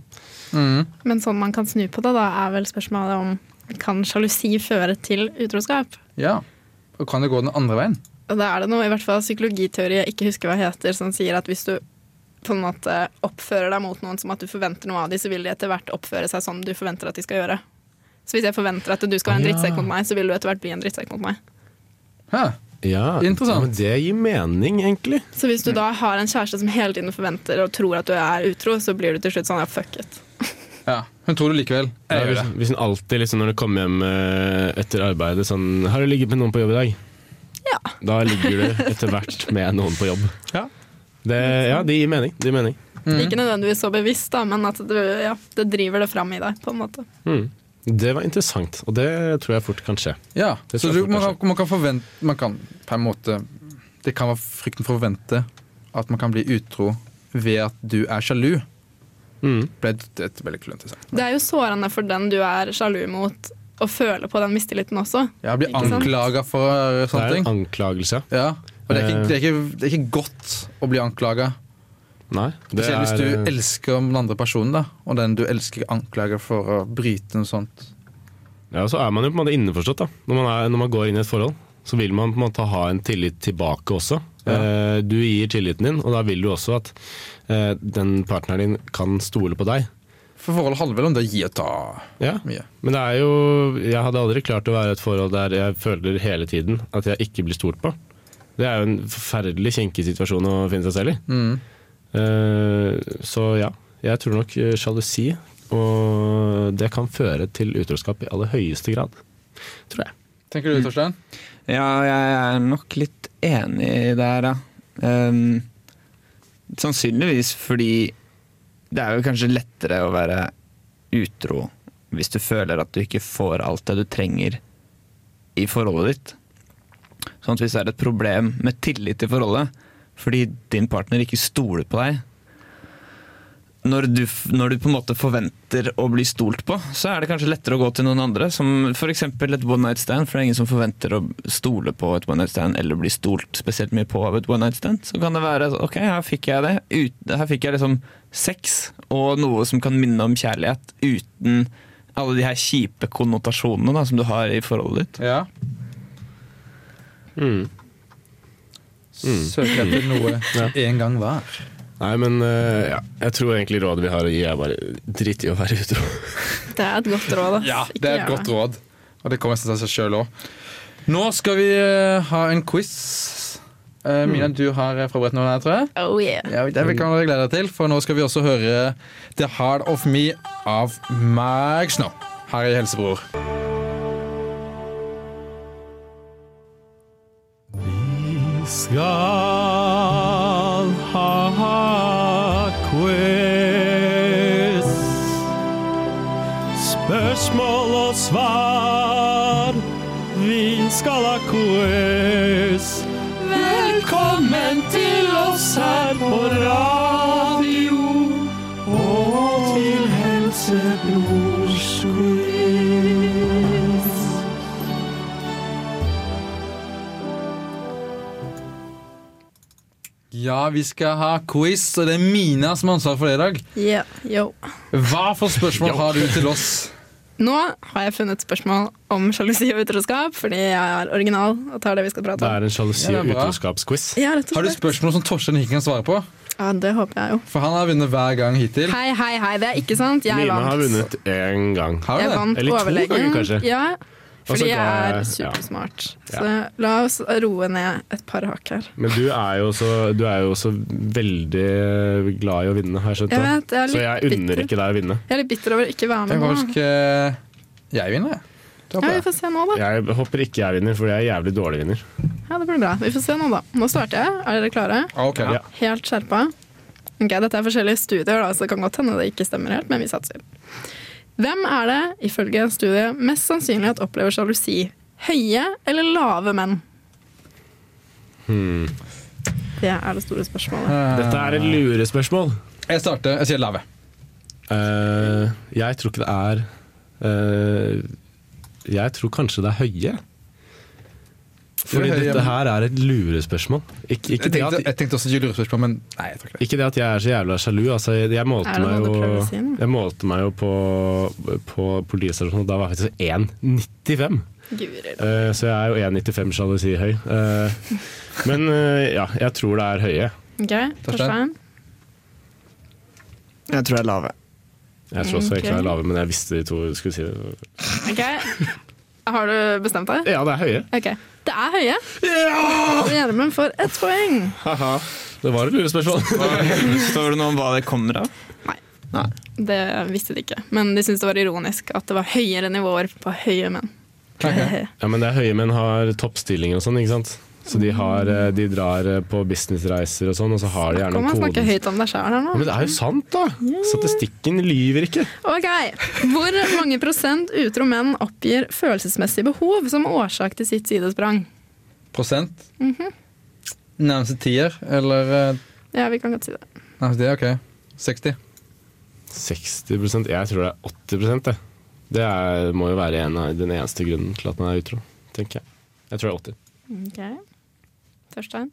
Speaker 2: Mm.
Speaker 5: Men sånn man kan snu på det, da, er vel spørsmålet om kan sjalusi føre til utroskap?
Speaker 2: ja. Og kan det gå den andre veien?
Speaker 5: Og da er det noe, i hvert fall psykologiteori jeg ikke husker hva heter, som sier at hvis du på en måte oppfører deg mot noen som at du forventer noe av dem, så vil de etter hvert oppføre seg som du forventer at de skal gjøre. Så hvis jeg forventer at du skal være en drittsekk mot meg, så vil du etter hvert bli en drittsekk mot meg.
Speaker 2: Hæ?
Speaker 3: Ja,
Speaker 2: Interessant.
Speaker 3: Men det gir mening, egentlig.
Speaker 5: Så hvis du da har en kjæreste som hele tiden forventer og tror at du er utro, så blir du til slutt sånn ja, fuck it.
Speaker 2: Ja. Hun tror det likevel.
Speaker 3: Ja, hvis, hvis en alltid liksom når du kommer hjem eh, etter arbeidet sånn Har du ligget med noen på jobb i dag?
Speaker 5: Ja.
Speaker 3: Da ligger du etter hvert med noen på jobb.
Speaker 2: Ja.
Speaker 3: Det, ja, det gir mening. Det gir mening.
Speaker 2: Mhm.
Speaker 5: Ikke nødvendigvis så bevisst, da, men at du, ja, det driver det fram i deg, på en måte.
Speaker 3: Mm. Det var interessant, og det tror jeg fort kan skje.
Speaker 2: Ja,
Speaker 3: Det
Speaker 2: så
Speaker 3: tror
Speaker 2: du,
Speaker 3: jeg fort
Speaker 2: man,
Speaker 3: kan
Speaker 2: kan, man kan forvente Man kan på en måte Det kan være frykten for å forvente at man kan bli utro ved at du er sjalu.
Speaker 3: Mm.
Speaker 2: Det er et, et veldig klønete sak.
Speaker 5: Det er jo sårende for den du er sjalu mot, å føle på den mistilliten også.
Speaker 2: Jeg blir
Speaker 5: Ikke sant?
Speaker 2: anklaga for eh,
Speaker 3: Det
Speaker 2: sånne
Speaker 3: er en
Speaker 2: ting.
Speaker 3: anklagelse.
Speaker 2: Ja, og det er, ikke, det, er ikke, det er ikke godt å bli anklaga.
Speaker 3: Nei, det
Speaker 2: Spesielt hvis du
Speaker 3: er,
Speaker 2: elsker den andre personen, da, og den du elsker anklager for å bryte noe sånt.
Speaker 3: ja, så er man jo på en måte innforstått. Da. Når, man er, når man går inn i et forhold, så vil man på en måte ha en tillit tilbake også. Eh, Du gir tilliten din, og da vil du også at eh, den partneren din kan stole på deg.
Speaker 2: For forholdet handler vel om det å gi og ta
Speaker 3: Ja,
Speaker 2: mye.
Speaker 3: Men det er jo Jeg hadde aldri klart å være i et forhold der jeg føler hele tiden at jeg ikke blir stolt på. Det er jo en forferdelig kinkig situasjon å finne seg selv i.
Speaker 2: Mm.
Speaker 3: Eh, så ja, Jeg tror nok eh, sjalusi, og det kan føre til utroskap i aller høyeste grad. Tror jeg.
Speaker 2: Tenker du, Torstein?
Speaker 6: Ja, jeg er nok litt enig der, ja. Ehm, sannsynligvis fordi det er jo kanskje lettere å være utro hvis du føler at du ikke får alt det du trenger i forholdet ditt. Sånn at hvis det er et problem med tillit i forholdet, fordi din partner ikke stoler på deg når du, f- når du på en måte forventer å bli stolt på, så er det kanskje lettere å gå til noen andre. Som f.eks. et one night stand, for det er ingen som forventer å stole på et one night stand eller bli stolt spesielt mye på av et one night stand. Så kan det være så, ok, her fikk jeg det. Ut, her fikk jeg liksom sex og noe som kan minne om kjærlighet uten alle de her kjipe konnotasjonene da, som du har i forholdet ditt.
Speaker 2: Ja. Søker etter noe en gang var.
Speaker 3: Nei, men eh, ja. jeg tror egentlig rådet vi har å gi, er bare drit i å være utro.
Speaker 5: Det er et godt råd. ass.
Speaker 2: Ja,
Speaker 5: Ikke
Speaker 2: det er
Speaker 5: gjør
Speaker 2: et godt råd. Og det kommer nesten av seg sjøl òg. Nå skal vi eh, ha en quiz. Eh, Mina, du har eh, forberedt noe her, tror jeg.
Speaker 5: Oh yeah.
Speaker 2: Ja, det vi kan dere glede deg til, for nå skal vi også høre The Heart of Me av Max Snow her i Helsebror.
Speaker 3: skal ha quiz. Spørsmål og svar. Vi skal ha quiz. Velkommen til oss her på radio og til Helsebrors quiz.
Speaker 2: Ja, vi skal ha quiz, og det er Mina som har ansvaret for det i dag.
Speaker 5: Yeah, yo.
Speaker 2: Hva for spørsmål har du til oss?
Speaker 5: Nå har jeg funnet spørsmål om sjalusi og utroskap, fordi jeg er original og tar det vi skal prate
Speaker 3: Det
Speaker 5: om.
Speaker 3: er en sjalusi-
Speaker 2: Ja,
Speaker 3: og
Speaker 2: det er bra.
Speaker 3: utroskapsquiz.
Speaker 5: Ja, rett
Speaker 2: Har
Speaker 5: og
Speaker 2: du
Speaker 5: slett.
Speaker 2: spørsmål som Torstein ikke kan svare på?
Speaker 5: Ja, det håper jeg jo.
Speaker 2: For han har vunnet hver gang hittil.
Speaker 5: Hei, hei, hei. Det er ikke sant. Jeg
Speaker 3: Mina har
Speaker 5: vant.
Speaker 3: vunnet én gang.
Speaker 2: Har du
Speaker 5: Jeg
Speaker 2: det?
Speaker 5: vant
Speaker 3: Eller to ganger,
Speaker 5: overlegen.
Speaker 3: kanskje.
Speaker 5: Ja,
Speaker 3: Og så ga
Speaker 5: fordi jeg er
Speaker 3: jeg- ja.
Speaker 5: supersmart. Så la oss roe ned et par hakk her.
Speaker 3: Men du er jo også, du er jo også veldig glad i å vinne, har jeg skjønt.
Speaker 5: Jeg
Speaker 3: da.
Speaker 5: vet, jeg er
Speaker 3: Så
Speaker 5: litt
Speaker 3: jeg unner
Speaker 5: bitter.
Speaker 3: ikke deg å vinne.
Speaker 5: Jeg er litt bitter over ikke å være
Speaker 2: Det
Speaker 5: med
Speaker 2: er
Speaker 5: nå.
Speaker 2: faktisk eh, Jeg vinner, jeg. Du har
Speaker 5: Ja,
Speaker 2: på
Speaker 5: vi
Speaker 2: det.
Speaker 5: får se nå, da.
Speaker 3: Jeg håper ikke jeg vinner, for jeg er jævlig dårlig vinner.
Speaker 5: Ja, det blir bra. Vi får se nå, da. Nå starter jeg. Er dere klare?
Speaker 2: Ah, ok.
Speaker 3: Ja.
Speaker 5: Helt skjerpa. Ok, Dette er forskjellige studier, da, så det kan godt hende det ikke stemmer helt, men vi satser. Hvem er det, ifølge en studie, mest sannsynlig at opplever sjalusi? Høye eller lave menn?
Speaker 3: Hmm.
Speaker 5: Det er det store spørsmålet.
Speaker 3: Dette er et lurespørsmål.
Speaker 2: Jeg starter. Jeg sier lave.
Speaker 3: Eh, jeg tror ikke det er eh, Jeg tror kanskje det er høye.
Speaker 2: Det
Speaker 3: Fordi
Speaker 2: er høye,
Speaker 3: dette
Speaker 2: men-
Speaker 3: her er et lurespørsmål. Ikke, ikke,
Speaker 2: Jeg
Speaker 3: det
Speaker 2: tenkte,
Speaker 3: at,
Speaker 2: jeg tenkte også julespørsmål, men nei, jeg tror ikke det.
Speaker 3: ikke det at jeg er så jævla sjalu. Altså, jeg, jeg,
Speaker 5: Er
Speaker 3: målte
Speaker 5: det noe
Speaker 3: meg
Speaker 5: du
Speaker 3: jo,
Speaker 5: prøver å si nå?
Speaker 3: jeg målte meg jo på, på politistasjonen, og da var jeg faktisk 1,95.
Speaker 5: Guri.
Speaker 3: Eh, så jeg er jo 1,95 sjalusi høy. Eh, men eh, ja, jeg tror det er høye.
Speaker 5: Ok, Torstein.
Speaker 6: Jeg tror jeg er lave.
Speaker 3: Jeg tror også jeg ikke
Speaker 5: Ok.
Speaker 3: er lave, men jeg visste de to skulle si det.
Speaker 5: Ok. Har du bestemt deg?
Speaker 3: Ja, det er høye.
Speaker 5: Ok. Det er høye. Ja! Gjermund får ett poeng.
Speaker 3: Det var et lurespørsmål.
Speaker 6: Står det noe om hva det kommer av?
Speaker 5: Det visste de ikke, men de syntes det var ironisk at det var høyere nivåer på høye menn.
Speaker 3: Ja, men det er høye menn har toppstillinger og sånn, ikke sant? Så de, har, eh, de drar eh, på businessreiser og sånn, og så har de
Speaker 5: Kan
Speaker 3: gjerne
Speaker 5: man snakke
Speaker 3: koden.
Speaker 5: høyt om deg sjøl her
Speaker 3: Ja, men
Speaker 5: nå?
Speaker 3: det er jo sant, da! Statistikken lyver ikke.
Speaker 5: Ok, Hvor mange prosent utro menn oppgir følelsesmessig behov som årsak til sitt sidesprang?
Speaker 2: Prosent?
Speaker 5: Mhm.
Speaker 2: Nærmeste tier, eller eh,
Speaker 5: Ja, vi kan godt si det.
Speaker 2: Nærmeste tier, OK. 60.
Speaker 3: 60 Jeg tror det er 80 det. Det er, må jo være en av den eneste grunnen til at man er utro, tenker jeg. Jeg tror det er 80.
Speaker 5: Ok. Torstein?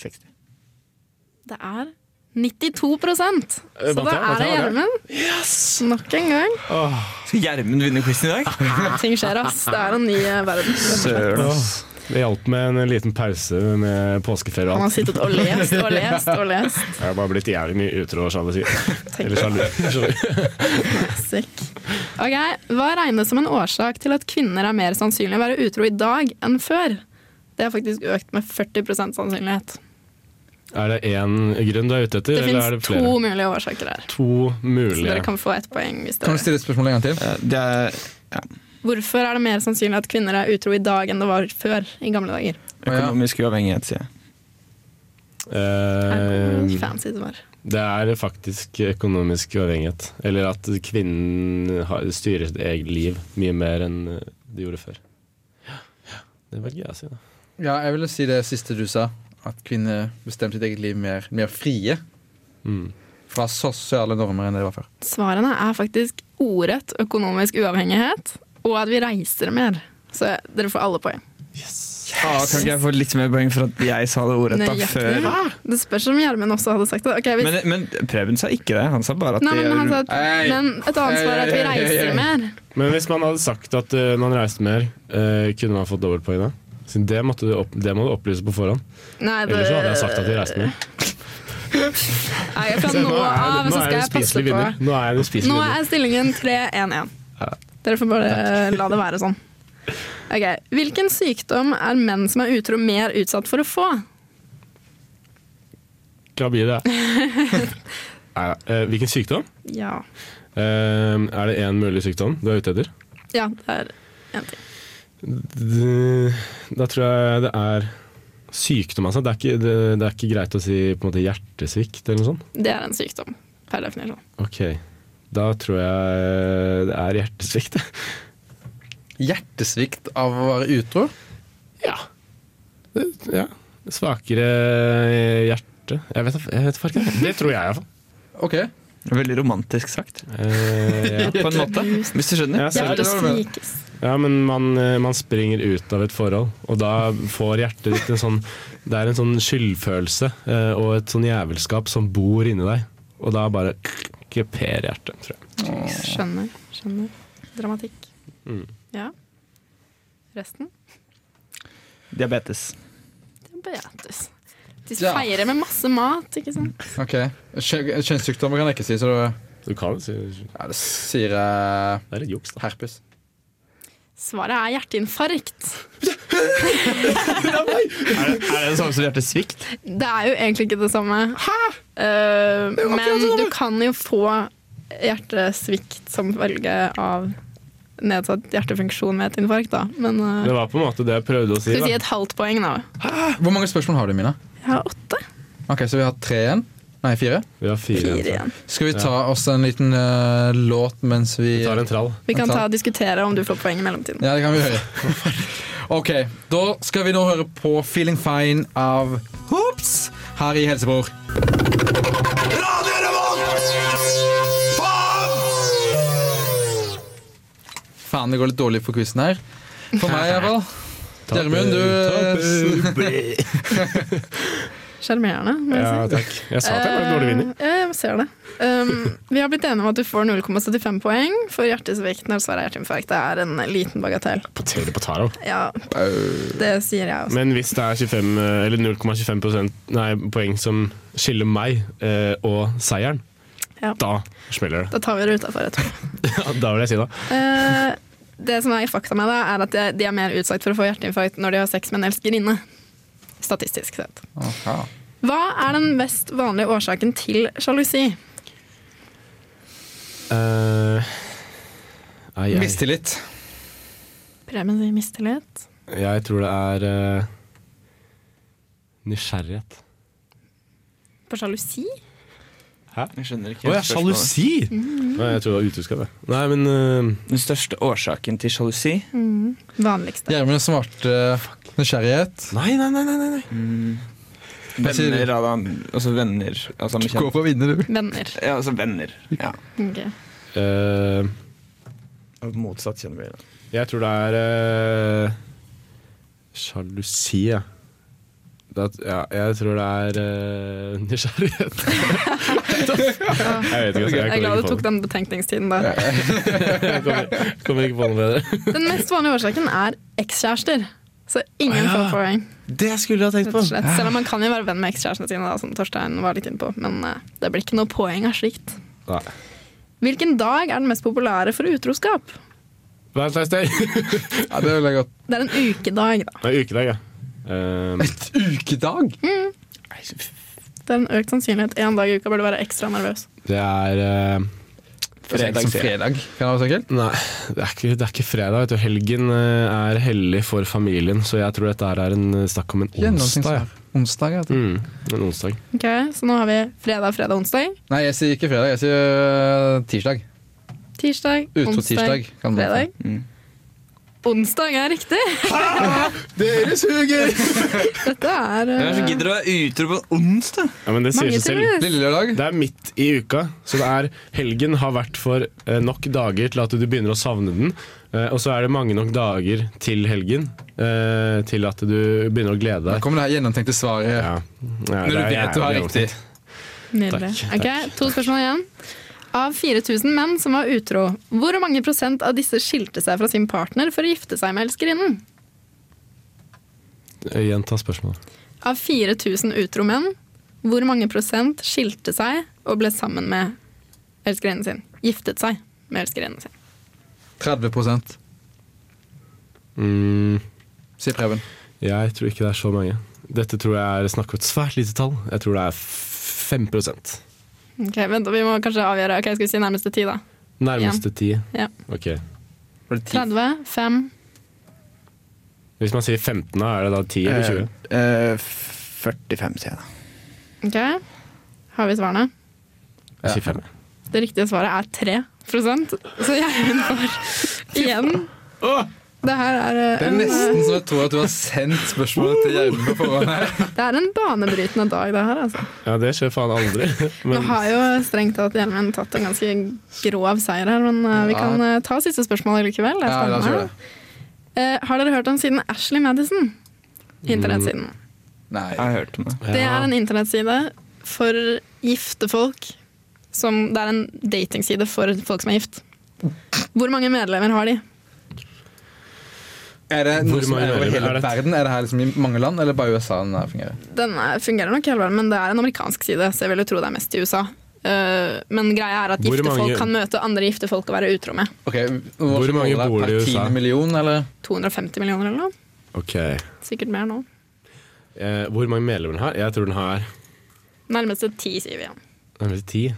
Speaker 6: 60.
Speaker 5: Det er 92 prosent!
Speaker 3: Eh,
Speaker 5: Så
Speaker 3: vant
Speaker 5: da
Speaker 3: jeg? Vant
Speaker 5: er det
Speaker 3: jeg? Vant
Speaker 5: Gjermund. Nok en gang.
Speaker 6: Skal Gjermund vinne quizen i dag?
Speaker 5: Ting skjer, ass. Det er en ny eh, verden.
Speaker 6: Søren, ass.
Speaker 3: Det hjalp med en liten pause med påskeferie og
Speaker 5: Han har
Speaker 3: alt.
Speaker 5: sittet og lest og lest og lest.
Speaker 3: Jeg har bare blitt jævlig mye utro og sjalusi.
Speaker 5: Tenk
Speaker 3: Eller sjalu. sjalu.
Speaker 5: Sick. Ok, Hva regnes som en årsak til at kvinner er mer sannsynlig å være utro i dag enn før? Det er faktisk økt med 40 sannsynlighet.
Speaker 3: Er det én grunn du er ute etter,
Speaker 5: Det
Speaker 3: eller er det
Speaker 5: finnes
Speaker 3: flere?
Speaker 5: to mulige årsaker her.
Speaker 3: To
Speaker 5: Så
Speaker 3: mulige.
Speaker 5: dere kan få ett poeng. Hvis
Speaker 2: Kan du
Speaker 5: dere...
Speaker 2: stille et spørsmål en gang til?
Speaker 6: Eh, Det er
Speaker 5: Hvorfor er det mer sannsynlig at kvinner er utro i dag enn det var før i gamle dager?
Speaker 6: økonomisk uavhengighet, sier jeg.
Speaker 5: Er
Speaker 3: Eh,
Speaker 5: det fancy svar.
Speaker 3: det er faktisk økonomisk uavhengighet. Eller at kvinnen har, styrer sitt eget liv mye mer enn eh, de gjorde før. Det velger jeg å si, da.
Speaker 2: Ja, jeg ville si det siste du sa. At kvinner bestemte sitt eget liv mer, mer frie
Speaker 3: Mm.
Speaker 2: fra sosiale normer enn det var før.
Speaker 5: Svarene er faktisk ordrett økonomisk uavhengighet, og at vi reiser mer. Så dere får alle poeng.
Speaker 6: Ah, kan ikke jeg få litt mer poeng for at jeg sa det ordrett da
Speaker 5: Nøyaktig.
Speaker 6: før?
Speaker 5: Det spørs om Gjermund også hadde sagt det. Ok, hvis...
Speaker 6: Men, men Preben sa ikke det. Han sa bare at
Speaker 5: Nei, men, han sa at,
Speaker 2: Hei.
Speaker 5: men et annet svar er at vi
Speaker 2: Hei, hei, hei,
Speaker 5: reiser
Speaker 2: hei.
Speaker 5: mer.
Speaker 3: Men hvis man hadde sagt at eh, man reiste mer, eh, kunne man fått dobbeltpoeng da? Siden det, måtte du opp, det må du opplyse på forhånd.
Speaker 5: Nei, det...
Speaker 3: Ellers så hadde jeg sagt at de reiste mer.
Speaker 5: Nei, fra nå
Speaker 3: Nå er
Speaker 5: av
Speaker 3: jeg- nå er jeg en
Speaker 5: så skal jeg passe
Speaker 3: spiselig
Speaker 5: på.
Speaker 3: vinner. Nå er jeg en uspiselig
Speaker 5: Nå
Speaker 3: vinner.
Speaker 5: er stillingen 3-1-1. Dere får bare la det være sånn. Ok, Hvilken sykdom er menn som er utro mer utsatt for å få?
Speaker 3: Klamydia. Nei, eh, hvilken sykdom?
Speaker 5: Ja,
Speaker 3: Eh, er det én mulig sykdom du er ute etter?
Speaker 5: ja det er en ting.
Speaker 3: D- Da tror jeg det er sykdom, altså. Det er ikke, det, det er ikke greit å si på en måte hjertesvikt eller noe sånt?
Speaker 5: Det er en sykdom, per definisjon.
Speaker 3: Ok, da tror jeg det er hjertesvikt.
Speaker 2: Hjertesvikt av å være utro?
Speaker 3: Ja. Det- ja. Svakere hjerte Jeg vet, jeg vet faktisk ikke. Det tror jeg iallfall.
Speaker 2: OK.
Speaker 6: Veldig romantisk sagt,
Speaker 3: Uh, ja.
Speaker 6: på en måte. Hvis du skjønner.
Speaker 3: Ja, så- ja, men man, eh, man springer ut av et forhold, og da får hjertet ditt en sånn Det er en sånn skyldfølelse eh, og et sånn jævelskap som bor inni deg, og da bare kuperer hjertet, tror jeg.
Speaker 5: Skjønner. skjønner. Dramatikk. Ja. Resten?
Speaker 6: Diabetes.
Speaker 5: Diabetes. De
Speaker 2: Ja.
Speaker 5: feirer med masse mat, ikke sant?
Speaker 2: ok. Kjø- Kjønnssykdommer kan jeg ikke si, så da
Speaker 3: Du kan jo si det
Speaker 2: ja, det sier jeg
Speaker 3: er litt juks, da.
Speaker 2: herpes.
Speaker 5: Svaret er hjerteinfarkt.
Speaker 6: Er det, er det det samme som hjertesvikt?
Speaker 5: Det er jo egentlig ikke det samme. Eh, men du kan jo få hjertesvikt som følge av nedsatt hjertefunksjon ved et infarkt, da. Men eh,
Speaker 3: Det var på en måte det jeg prøvde å si.
Speaker 5: skal vi si
Speaker 3: Da.
Speaker 5: et halvt poeng, da?
Speaker 2: Hvor mange spørsmål har du, Mina?
Speaker 5: Jeg har åtte.
Speaker 2: Ok, Så vi har tre igjen? Nei, fire.
Speaker 3: Vi har fire,
Speaker 5: Fire
Speaker 3: igjen, tror jeg.
Speaker 5: igjen.
Speaker 2: Skal vi ta oss en liten eh, låt mens vi
Speaker 3: Vi tar en trall.
Speaker 5: Vi kan ta og diskutere om du får poeng i mellomtiden.
Speaker 2: Ja, det kan vi gjøre. Ok, da skal vi nå høre på Feeling Fine av Hoops her i Helsebror. Faen, det går litt dårlig for quizen her. For meg, iallfall. Gjermund, du
Speaker 5: Sjarmerende, må jeg si.
Speaker 3: Ja, takk. Jeg sa at jeg var en dårlig vinner.
Speaker 5: Eh, jeg ser det. Um, vi har blitt enige om at du får 0,75 poeng for hjertesvikt når svaret er hjerteinfarkt. Det er en liten bagatell.
Speaker 3: På tele på taro.
Speaker 5: Ja, det sier jeg også.
Speaker 3: Men hvis det er 25, eh, eller 0,25 prosent- nei, poeng som skiller meg eh, og seieren,
Speaker 5: Ja.
Speaker 3: da smeller det.
Speaker 5: Da tar vi det utafor, jeg tror.
Speaker 3: Ja, da vil jeg si det.
Speaker 5: Eh, det som er fakta med det, er at de- de er mer utsatt for å få hjerteinfarkt når de har sex med en elskerinne. Statistisk sett.
Speaker 2: Aha.
Speaker 5: Hva er den mest vanlige årsaken til sjalusi?
Speaker 3: Eh, nei, jeg,
Speaker 2: Mistillit.
Speaker 5: Preben sier mistillit.
Speaker 3: jeg tror det er eh, nysgjerrighet.
Speaker 5: På sjalusi?
Speaker 6: Jeg skjønner
Speaker 3: Å
Speaker 6: ikke.
Speaker 3: ja,
Speaker 6: helt spørsmålet.
Speaker 3: sjalusi!
Speaker 5: Mhm.
Speaker 3: Nei, Jeg tror det var utuska, det. Nei, men eh,
Speaker 6: Den største årsaken til sjalusi?
Speaker 5: Vanligste.
Speaker 2: Gjermund svarte
Speaker 3: eh,
Speaker 2: nysgjerrighet.
Speaker 3: Nei, nei, nei. nei, nei.
Speaker 2: sier du?
Speaker 6: Venner av han Altså venner. Altså, med
Speaker 2: Gå
Speaker 6: kjent-
Speaker 2: for å vinne, du.
Speaker 5: Venner.
Speaker 6: ja, altså venner. Ja.
Speaker 5: Ok.
Speaker 3: Eh,
Speaker 6: Motsatt kjenner vi.
Speaker 3: Jeg tror det er eh, Sjalusi, ja. Det, at- ja. Jeg tror det er eh, nysgjerrighet. jeg vet ikke. Altså,
Speaker 5: Jeg er
Speaker 3: jeg
Speaker 5: glad
Speaker 3: kommer
Speaker 5: du
Speaker 3: ikke på
Speaker 5: tok
Speaker 3: den.
Speaker 5: den betenkningstiden der.
Speaker 3: Jeg kommer, kommer ikke på noe bedre.
Speaker 5: Den mest vanlige årsaken er ekskjærester. Så ingen
Speaker 3: Ah, ja.
Speaker 5: får poeng.
Speaker 6: Det skulle du ha tenkt
Speaker 5: rett og slett. Selv om man kan jo være venn med ekskjærestene sine, da, som Torstein var litt inne på. Men eh, det blir ikke noe poeng av slikt.
Speaker 3: Nei.
Speaker 5: Hvilken dag er den mest populære for utroskap?
Speaker 3: Hva er slags dag?
Speaker 2: Ja, det vil jeg godt.
Speaker 5: Det er en ukedag, da.
Speaker 3: Ehm, Nei, ukedag, ja. Um,
Speaker 2: Et ukedag?
Speaker 6: på.
Speaker 5: Det er en økt sannsynlighet. En dag i uka bør du være ekstra nervøs.
Speaker 3: Det er eh,
Speaker 2: Fredag, som fredag. Kan det være så enkelt?
Speaker 3: Nei, det er ikke, det er ikke fredag. Vet du. Helgen eh, er hellig for familien, så jeg tror dette her er en eh, snakk om en onsdag. ja.
Speaker 2: Gjennomsnittsdag. Onsdag, ja.
Speaker 3: Mm, en onsdag.
Speaker 5: Ok, Så nå har vi fredag, fredag, onsdag.
Speaker 2: Nei, jeg sier ikke fredag, jeg sier øh, tirsdag.
Speaker 5: Tirsdag,
Speaker 2: Ut på
Speaker 5: onsdag,
Speaker 2: tirsdag. Kan man
Speaker 5: fredag.
Speaker 6: Mm.
Speaker 5: Onsdag er riktig!
Speaker 3: Dere suger!
Speaker 5: Dette er
Speaker 6: Hvem er det som
Speaker 5: eh,
Speaker 6: gidder å være utro på en onsdag?
Speaker 3: Ja, men det sier
Speaker 5: mange
Speaker 3: seg selv.
Speaker 2: få.
Speaker 5: timer.
Speaker 2: Lille lørdag.
Speaker 3: Det er midt i uka, så det er helgen har vært for eh, nok dager til at du begynner å savne den. Eh, og så er det mange nok dager til helgen eh, til at du begynner å glede
Speaker 2: Da
Speaker 3: deg.
Speaker 2: kommer det her gjennomtenkte svaret.
Speaker 3: Ja. Ja,
Speaker 2: Når
Speaker 3: det
Speaker 2: du vet
Speaker 3: er
Speaker 2: du har
Speaker 3: jævlig
Speaker 2: riktig.
Speaker 5: Nydelig. Ok, To spørsmål igjen. Av 4000 menn som var utro, hvor mange prosent av disse skilte seg fra sin partner for å gifte seg med elskerinnen?
Speaker 3: vondt. Eh, Gjenta spørsmålet.
Speaker 5: Av 4000 utro menn, hvor mange prosent skilte seg og ble sammen med elskerinnen sin? Giftet seg med elskerinnen sin.
Speaker 2: 30
Speaker 3: Mm,
Speaker 2: sier Preben.
Speaker 3: jeg tror ikke det er så mange. Dette tror jeg er snakk om et svært lite tall. Jeg tror det er f- 5
Speaker 5: Ok, vent, Vi må kanskje avgjøre. Ok, Skal vi si nærmeste ti, da?
Speaker 3: Nærmeste ti.
Speaker 5: Ja.
Speaker 3: Ok.
Speaker 6: Var det 10?
Speaker 5: 30, 5
Speaker 3: Hvis man sier 15, da er det da 10 eller 20?
Speaker 6: Eh, eh, 45, sier jeg da.
Speaker 5: Ok, har vi svarene?
Speaker 3: Jeg sier 5.
Speaker 5: Det riktige svaret er 3 så Gjermund får igjen. Det her er, eh,
Speaker 2: Det er
Speaker 5: en, eh,
Speaker 2: nesten så jeg tror at du har sendt spørsmålet til Gjermund på forhånd. her.
Speaker 5: det er en banebrytende dag, det her. Altså.
Speaker 3: Ja, det skjer faen aldri.
Speaker 5: Nå
Speaker 3: Men
Speaker 5: har jo strengt tatt Gjermund tatt en ganske grov seier her, men eh, vi kan eh, ta siste spørsmål likevel. Det er
Speaker 2: Ja, la oss gjøre
Speaker 5: spennende.
Speaker 2: det.
Speaker 5: Eh, har dere hørt om siden Ashley Madison? Internettsiden.
Speaker 2: Mm, Nei.
Speaker 6: Jeg har hørt om det.
Speaker 5: Det
Speaker 3: Ja.
Speaker 5: er en internettside for gifte folk. Som, det er en datingside for folk som er gift. Hvor mange medlemmer har de?
Speaker 2: Er det noe
Speaker 3: Hvor
Speaker 2: som
Speaker 3: mange
Speaker 2: er over
Speaker 3: medlemmer
Speaker 2: hele
Speaker 3: er det?
Speaker 2: verden? Er det her liksom i mange land, eller bare i USA den her fungerer?
Speaker 5: Den er- fungerer nok hele verden, men det er en amerikansk side, så jeg vil jo tro det er mest i USA. Eh, men greia er at
Speaker 3: Hvor
Speaker 5: gifte folk
Speaker 3: mange-
Speaker 5: kan møte andre gifte folk og være utro med.
Speaker 2: Ok,
Speaker 3: Hvor mange bor det i USA?
Speaker 2: 10 million, eller?
Speaker 5: 250 millioner eller noe.
Speaker 3: ok.
Speaker 5: Sikkert mer nå.
Speaker 3: Eh, hvor mange medlemmer den har? Jeg tror den har
Speaker 5: Nærmeste ti, sier vi igjen.
Speaker 3: nærmere 10.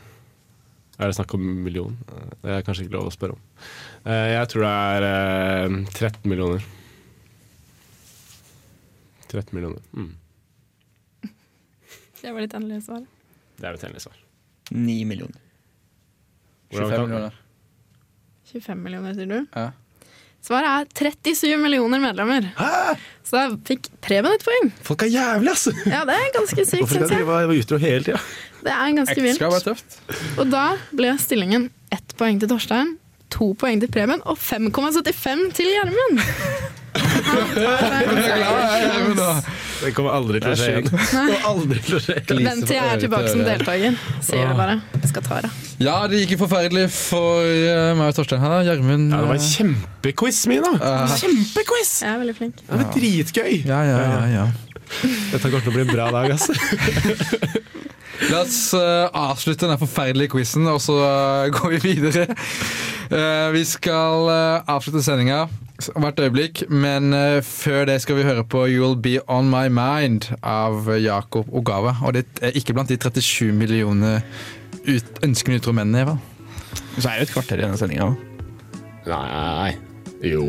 Speaker 3: Er det snakk om million? Eh, Det er kanskje ikke lov å spørre om. Eh, jeg tror det er eh, 13 millioner. 13 millioner. Mm.
Speaker 5: Det var litt endelig svar.
Speaker 3: Det er jo et endelig svar.
Speaker 6: 9 millioner.
Speaker 3: Hvordan
Speaker 2: 25
Speaker 3: kan-
Speaker 2: millioner.
Speaker 5: 25 millioner, sier du?
Speaker 2: Ja.
Speaker 5: Svaret er 37 millioner medlemmer. Så da fikk Preben et poeng.
Speaker 3: Folk er jævlig, ass!
Speaker 5: Ja, det er ganske sykt,
Speaker 3: Hvorfor skal
Speaker 5: syns
Speaker 3: de
Speaker 5: jeg.
Speaker 3: være utro hele tida?
Speaker 5: Det er ganske
Speaker 2: Ekteskap er
Speaker 5: vilt.
Speaker 2: tøft.
Speaker 5: Og da ble stillingen ett poeng til Torstein, to poeng til Preben og 5,75 til Gjermund.
Speaker 3: Det kommer aldri til å skje igjen. Det kommer aldri til å skje igjen.
Speaker 5: Vent til jeg er tilbake som deltaker, sier jeg bare. Skal ta det.
Speaker 2: Ja, det gikk jo forferdelig for eh, meg og Torstein her, da. Gjermund
Speaker 3: Ja, det var en
Speaker 2: eh,
Speaker 3: kjempequiz, Mina!
Speaker 2: Eh.
Speaker 3: Kjempequiz!
Speaker 5: Jeg er veldig flink.
Speaker 3: Det var dritgøy!
Speaker 2: ja, ja, ja, ja.
Speaker 3: Dette kommer til å bli en bra dag, altså. ass.
Speaker 2: La oss eh, avslutte denne forferdelige quizen, og så eh, går vi videre. Eh, vi skal eh, avslutte sendinga hvert øyeblikk, men eh, før det skal vi høre på You'll Be On My Mind av Jakob Ogawa. Og det er ikke blant de 37 millioner ut, ønskende utro mennene, Eva.
Speaker 6: Så er det jo et kvarter i denne sendinga òg.
Speaker 3: Nei Jo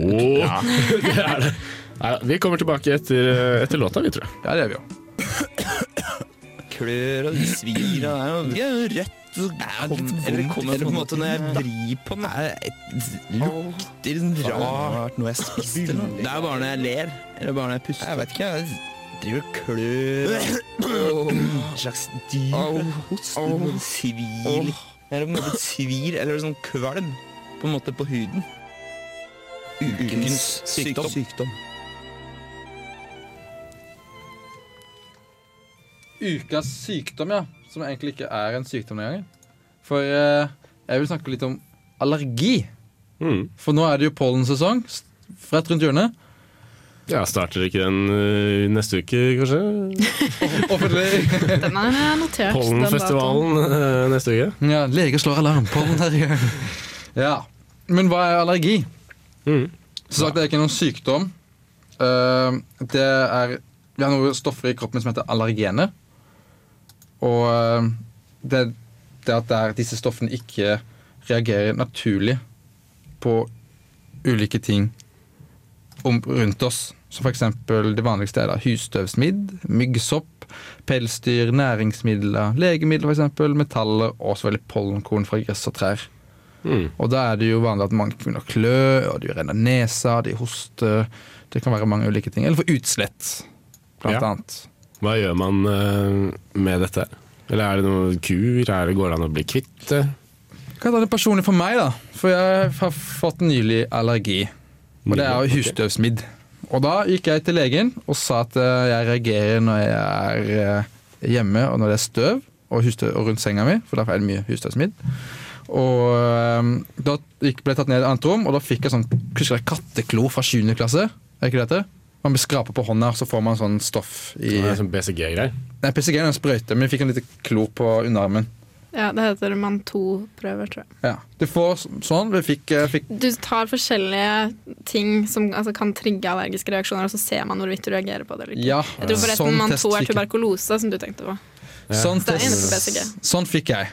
Speaker 3: Det er det. Nei, vi kommer tilbake etter, etter låta, vi, tror jeg.
Speaker 2: Ja, det er vi jo.
Speaker 6: Klør og svir og det er jo rødt. Så kom, eller kommer på en måte når jeg vrir på den. Det lukter sånn rart noe jeg spiste. eller noe. Det er bare når jeg ler, eller bare når jeg puster. Jeg vet ikke, jeg driver og klør. En slags dyr host. Noe svir. Det er på en måte et svir, eller sånn kvalm, på en måte på huden. Ukens sykdom.
Speaker 2: Ukas sykdom, ja. Som egentlig ikke er en sykdom den gangen. For eh, jeg vil snakke litt om allergi.
Speaker 3: Mm.
Speaker 2: For nå er det jo pollensesong. s- Rett rundt hjørnet.
Speaker 3: Ja, starter ikke den ø, neste uke, kanskje?
Speaker 2: Offentlig
Speaker 5: Den er notert. den datoen.
Speaker 3: Pollenfestivalen ø, neste uke?
Speaker 2: Ja, leger slår alarm på den her igjen. Ja. Men hva er allergi?
Speaker 3: Mm.
Speaker 2: Som sagt, det er ikke noen sykdom. Eh, det er Vi har noen stoffer i kroppen som heter allergener. Og eh, det, det at der disse stoffene ikke reagerer naturlig på ulike ting om, rundt oss, som f.eks. det vanligste er da husstøvsmidd, myggsopp, pelsdyr, næringsmidler, legemidler f.eks., metaller og selvfølgelig pollenkorn fra gress og trær. Og da er det jo vanlig at mange begynner å klø, og de renner nesa, de hoster Det kan være mange ulike ting. Eller for utslett, blant
Speaker 3: Ja.
Speaker 2: annet.
Speaker 3: Hva gjør man eh, med dette? her? Eller er det noen kur? Er det, går det an å bli kvitt det?
Speaker 2: Hva er det personlig for meg, da? For jeg har fått nylig allergi. Og det er jo
Speaker 3: Nylig, ok.
Speaker 2: husstøvsmidd. Og da gikk jeg til legen og sa at eh, jeg reagerer når jeg er eh, hjemme og når det er støv og, husstøv, og rundt senga mi, for derfor er det mye husstøvsmidd. Og ehm, da gikk, ble jeg tatt ned i et annet rom, og da fikk jeg sånn husker jeg, katteklo fra 7. klasse. Er ikke det det? heter? Man blir skrapet på hånda, og så får man sånn stoff i
Speaker 3: Det er sånn BCG-greier.
Speaker 2: Nei, PSG er en sprøyte, men jeg fikk en liten klo på underarmen.
Speaker 5: Ja, det heter man to-prøver, tror jeg.
Speaker 2: Ja. Du får s- sånn. Vi fikk, eh, fikk
Speaker 5: du tar forskjellige ting som altså, kan trigge allergiske reaksjoner, og så ser man hvorvidt du reagerer på det. Eller ikke.
Speaker 2: Ja,
Speaker 5: Jeg tror forresten
Speaker 2: sånn
Speaker 5: man
Speaker 2: test
Speaker 5: tror er
Speaker 2: fikk jeg.
Speaker 5: tuberkulose, som du tenkte på.
Speaker 2: Sånn,
Speaker 5: Det er
Speaker 2: test-
Speaker 5: innenfor BCG.
Speaker 2: sånn fikk jeg.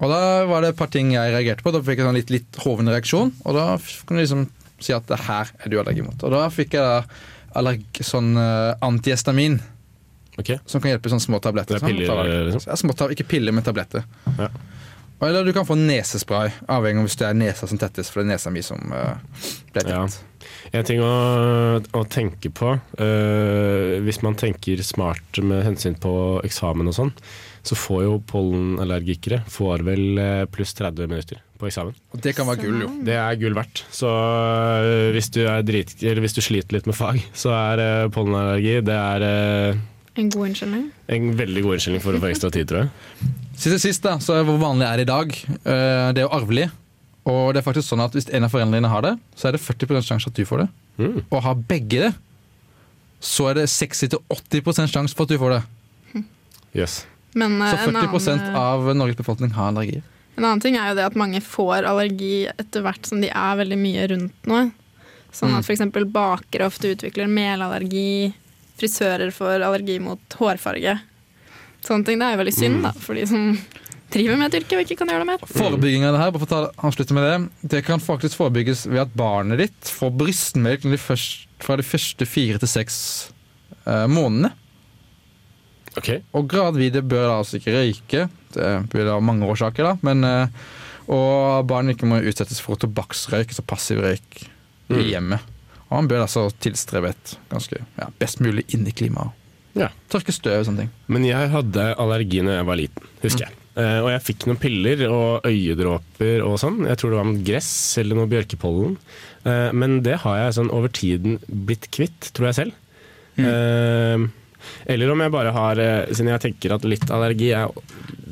Speaker 2: Og da var det et par ting jeg reagerte på. Da fikk jeg sånn litt, litt hoven reaksjon, og da f- kunne jeg liksom si at det her er du allergi mot. Og da fikk jeg da allerg, sånn eh, antihistamin,
Speaker 3: Ok.
Speaker 2: som kan hjelpe i sånne små tabletter.
Speaker 3: Det er piller,
Speaker 2: Sånn,
Speaker 3: liksom?
Speaker 2: Ja, små tab ikke piller, men tabletter.
Speaker 3: Ja.
Speaker 2: Og Eller du kan få nesespray, avhengig av hvis det er nesa som tettes, for det er nesa mi som eh, ble tett.
Speaker 3: Ja. En ting å, å tenke på eh, Hvis man tenker smart med hensyn på eksamen og sånn, så får jo pollenallergikere får vel eh, pluss 30 minutter på eksamen.
Speaker 2: Og det kan være gull, jo.
Speaker 3: Det er gull verdt. Så øh, hvis du, er drit, eller hvis du sliter litt med fag, så er øh, pollenallergi det er øh,
Speaker 5: En god unnskyldning.
Speaker 3: en veldig god unnskyldning for å få ekstra tid, tror jeg.
Speaker 2: Sist og sist, da, så er hvor vanlig er det i dag? Eh, Det er jo arvelig. Og det er faktisk sånn at hvis en av foreldrene dine har det, så er det 40 sjanse at du får det.
Speaker 3: Mm.
Speaker 2: Og har begge det, så er det 60-80 sjanse for at du får det.
Speaker 3: Yes.
Speaker 5: Men eh, Mm.
Speaker 2: Så
Speaker 5: en,
Speaker 2: 40
Speaker 5: annen,
Speaker 2: av Norges befolkning har allergier.
Speaker 5: en annen ting er jo det at mange får allergi etter hvert som de er veldig mye rundt noe. Sånn
Speaker 2: Mm.
Speaker 5: at f.eks. bakere ofte utvikler melallergi, frisører får allergi mot hårfarge. Sånne ting. Det er jo veldig
Speaker 2: Mm.
Speaker 5: synd, da, for de som driver med et yrke og ikke kan gjøre det mer.
Speaker 2: Forebygging av det her, bare for å ta, avslutte med det, det kan faktisk forebygges ved at barnet ditt får brystmelk når de først, fra de første fire til seks eh, månedene.
Speaker 3: Ok.
Speaker 2: Og gravide bør da altså ikke røyke. Det blir da mange årsaker, da. Men, eh, og barn ikke må utsettes for tobakksrøyk, altså passiv røyk,
Speaker 3: Mm.
Speaker 2: i hjemmet. Og man bør altså tilstrebe et ganske ja, best mulig inneklima.
Speaker 3: Ja.
Speaker 2: Tørke støv og sånne ting.
Speaker 3: Men jeg hadde allergi da jeg var liten, husker jeg. Eh, og jeg fikk noen piller og øyedråper og sånn. Jeg tror det var med gress eller noe bjørkepollen. Eh, men det har jeg sånn over tiden blitt kvitt, tror jeg selv. Eh, eller om jeg bare har eh, Siden jeg tenker at litt allergi er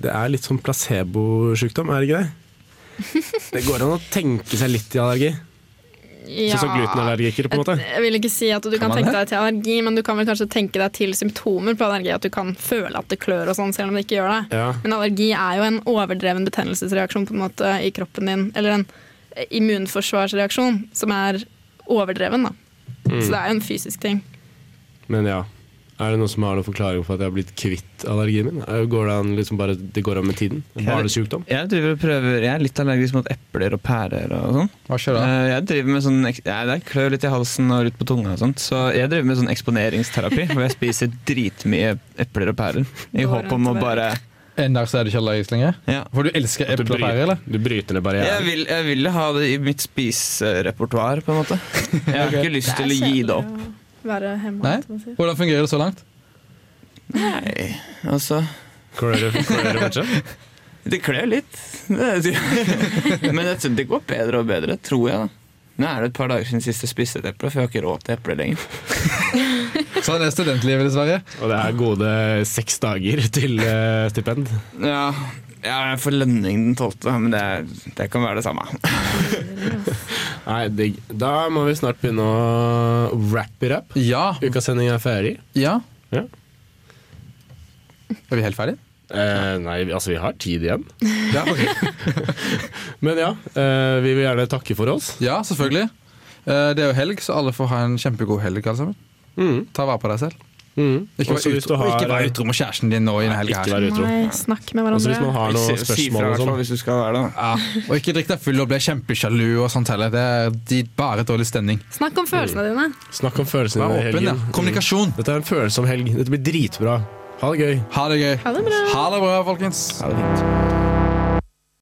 Speaker 3: Det er litt sånn placebosjukdom, er det ikke det? Det går an å tenke seg litt i allergi. Sånn som glutenallergikere, på en måte.
Speaker 5: Jeg vil ikke si at du kan,
Speaker 2: man
Speaker 5: tenke
Speaker 2: det?
Speaker 5: deg til allergi, men du kan vel kanskje tenke deg til symptomer på allergi. At du kan føle at det klør og sånn, selv om det ikke gjør det.
Speaker 3: Ja.
Speaker 5: Men allergi er jo en overdreven betennelsesreaksjon på en måte i kroppen din. Eller en immunforsvarsreaksjon som er overdreven, da. Så det er jo en fysisk ting.
Speaker 3: Men ja. Er det noen som har noen forklaring på at jeg har blitt kvitt allergien min? Eh, Går det an liksom bare Det går an med tiden? En barnesjukdom?
Speaker 6: Jeg driver og prøver Jeg er litt allergisk mot epler og pærer og sånn.
Speaker 2: Hva skjer da?
Speaker 6: Eh, Jeg driver med sånn ek- ja, Det klør litt i halsen og litt på tunga og sånt. Så jeg driver med sånn eksponeringsterapi, hvor jeg spiser dritmye epler og pærer. I
Speaker 5: Går
Speaker 6: håp om å
Speaker 5: rundt og
Speaker 6: bare
Speaker 2: Eh, En dag så er du ikke allergisk lenger?
Speaker 6: Ja.
Speaker 2: For du elsker
Speaker 3: Du
Speaker 2: eple og pære,
Speaker 3: bryter,
Speaker 2: eller?
Speaker 3: du bryter ned
Speaker 6: Jeg
Speaker 3: barrieren.
Speaker 6: vil, jeg vil ha det i mitt spiserepertoar, på en måte. Jeg har ikke lyst til å gi det opp.
Speaker 5: å være hemma.
Speaker 2: Nei? Hvordan fungerer det så langt?
Speaker 6: Nei, altså
Speaker 3: Klarer du- klarer du fortsatt?
Speaker 6: Det klør litt. Det er- Men jeg tror det går bedre og bedre, tror jeg. da. Nå er det et par dager siden sist jeg spiste et eple, for jeg har ikke råd til eple lenger.
Speaker 2: Sånn er studentlivet, dessverre.
Speaker 3: Og det er gode seks dager til eh, stipend.
Speaker 6: Ja, ja, jeg får lønning den tolvte, men det, er- det kan være det samme.
Speaker 3: Nei, digg. Da må vi snart begynne å wrap it up.
Speaker 2: Ja.
Speaker 3: Ukas sending er ferdig.
Speaker 2: Ja.
Speaker 3: Ja.
Speaker 2: Er vi helt ferdige?
Speaker 3: Eh, nei, vi- altså vi har tid igjen.
Speaker 2: Ja, ok.
Speaker 3: Men ja, eh, vi vil gjerne takke for oss.
Speaker 2: ja, selvfølgelig. Eh, Det er jo helg, så alle får ha en kjempegod helg, alle sammen.
Speaker 3: Mm.
Speaker 2: Ta vare på deg selv. Ikke vær
Speaker 3: Også Mm. hvis du
Speaker 2: utro, og
Speaker 3: har-
Speaker 2: ikke vær utro mot kjæresten din nå i denne helga
Speaker 3: Ikke
Speaker 2: her.
Speaker 3: være utro.
Speaker 5: Nei, snakk
Speaker 3: Også
Speaker 5: med hverandre.
Speaker 3: Altså, hvis man har noen
Speaker 6: Si fra
Speaker 3: spørsmål
Speaker 6: i
Speaker 3: og
Speaker 6: hvert fall
Speaker 3: sånn.
Speaker 6: hvis du skal være det.
Speaker 2: Ja. Og ikke drikk deg full og bli kjempesjalu og sånt heller. Det er de bare dårlig stemning.
Speaker 5: Snakk om følelsene dine.
Speaker 3: Snakk om følelsene
Speaker 2: Vær
Speaker 3: dine i
Speaker 2: åpen, ja.
Speaker 3: helgen.
Speaker 2: Kommunikasjon.
Speaker 3: Dette er en følsom helg. Dette blir dritbra. Ha det gøy.
Speaker 2: Ha det gøy.
Speaker 5: Ha det bra.
Speaker 2: Ha det bra, folkens.
Speaker 6: Ha det fint.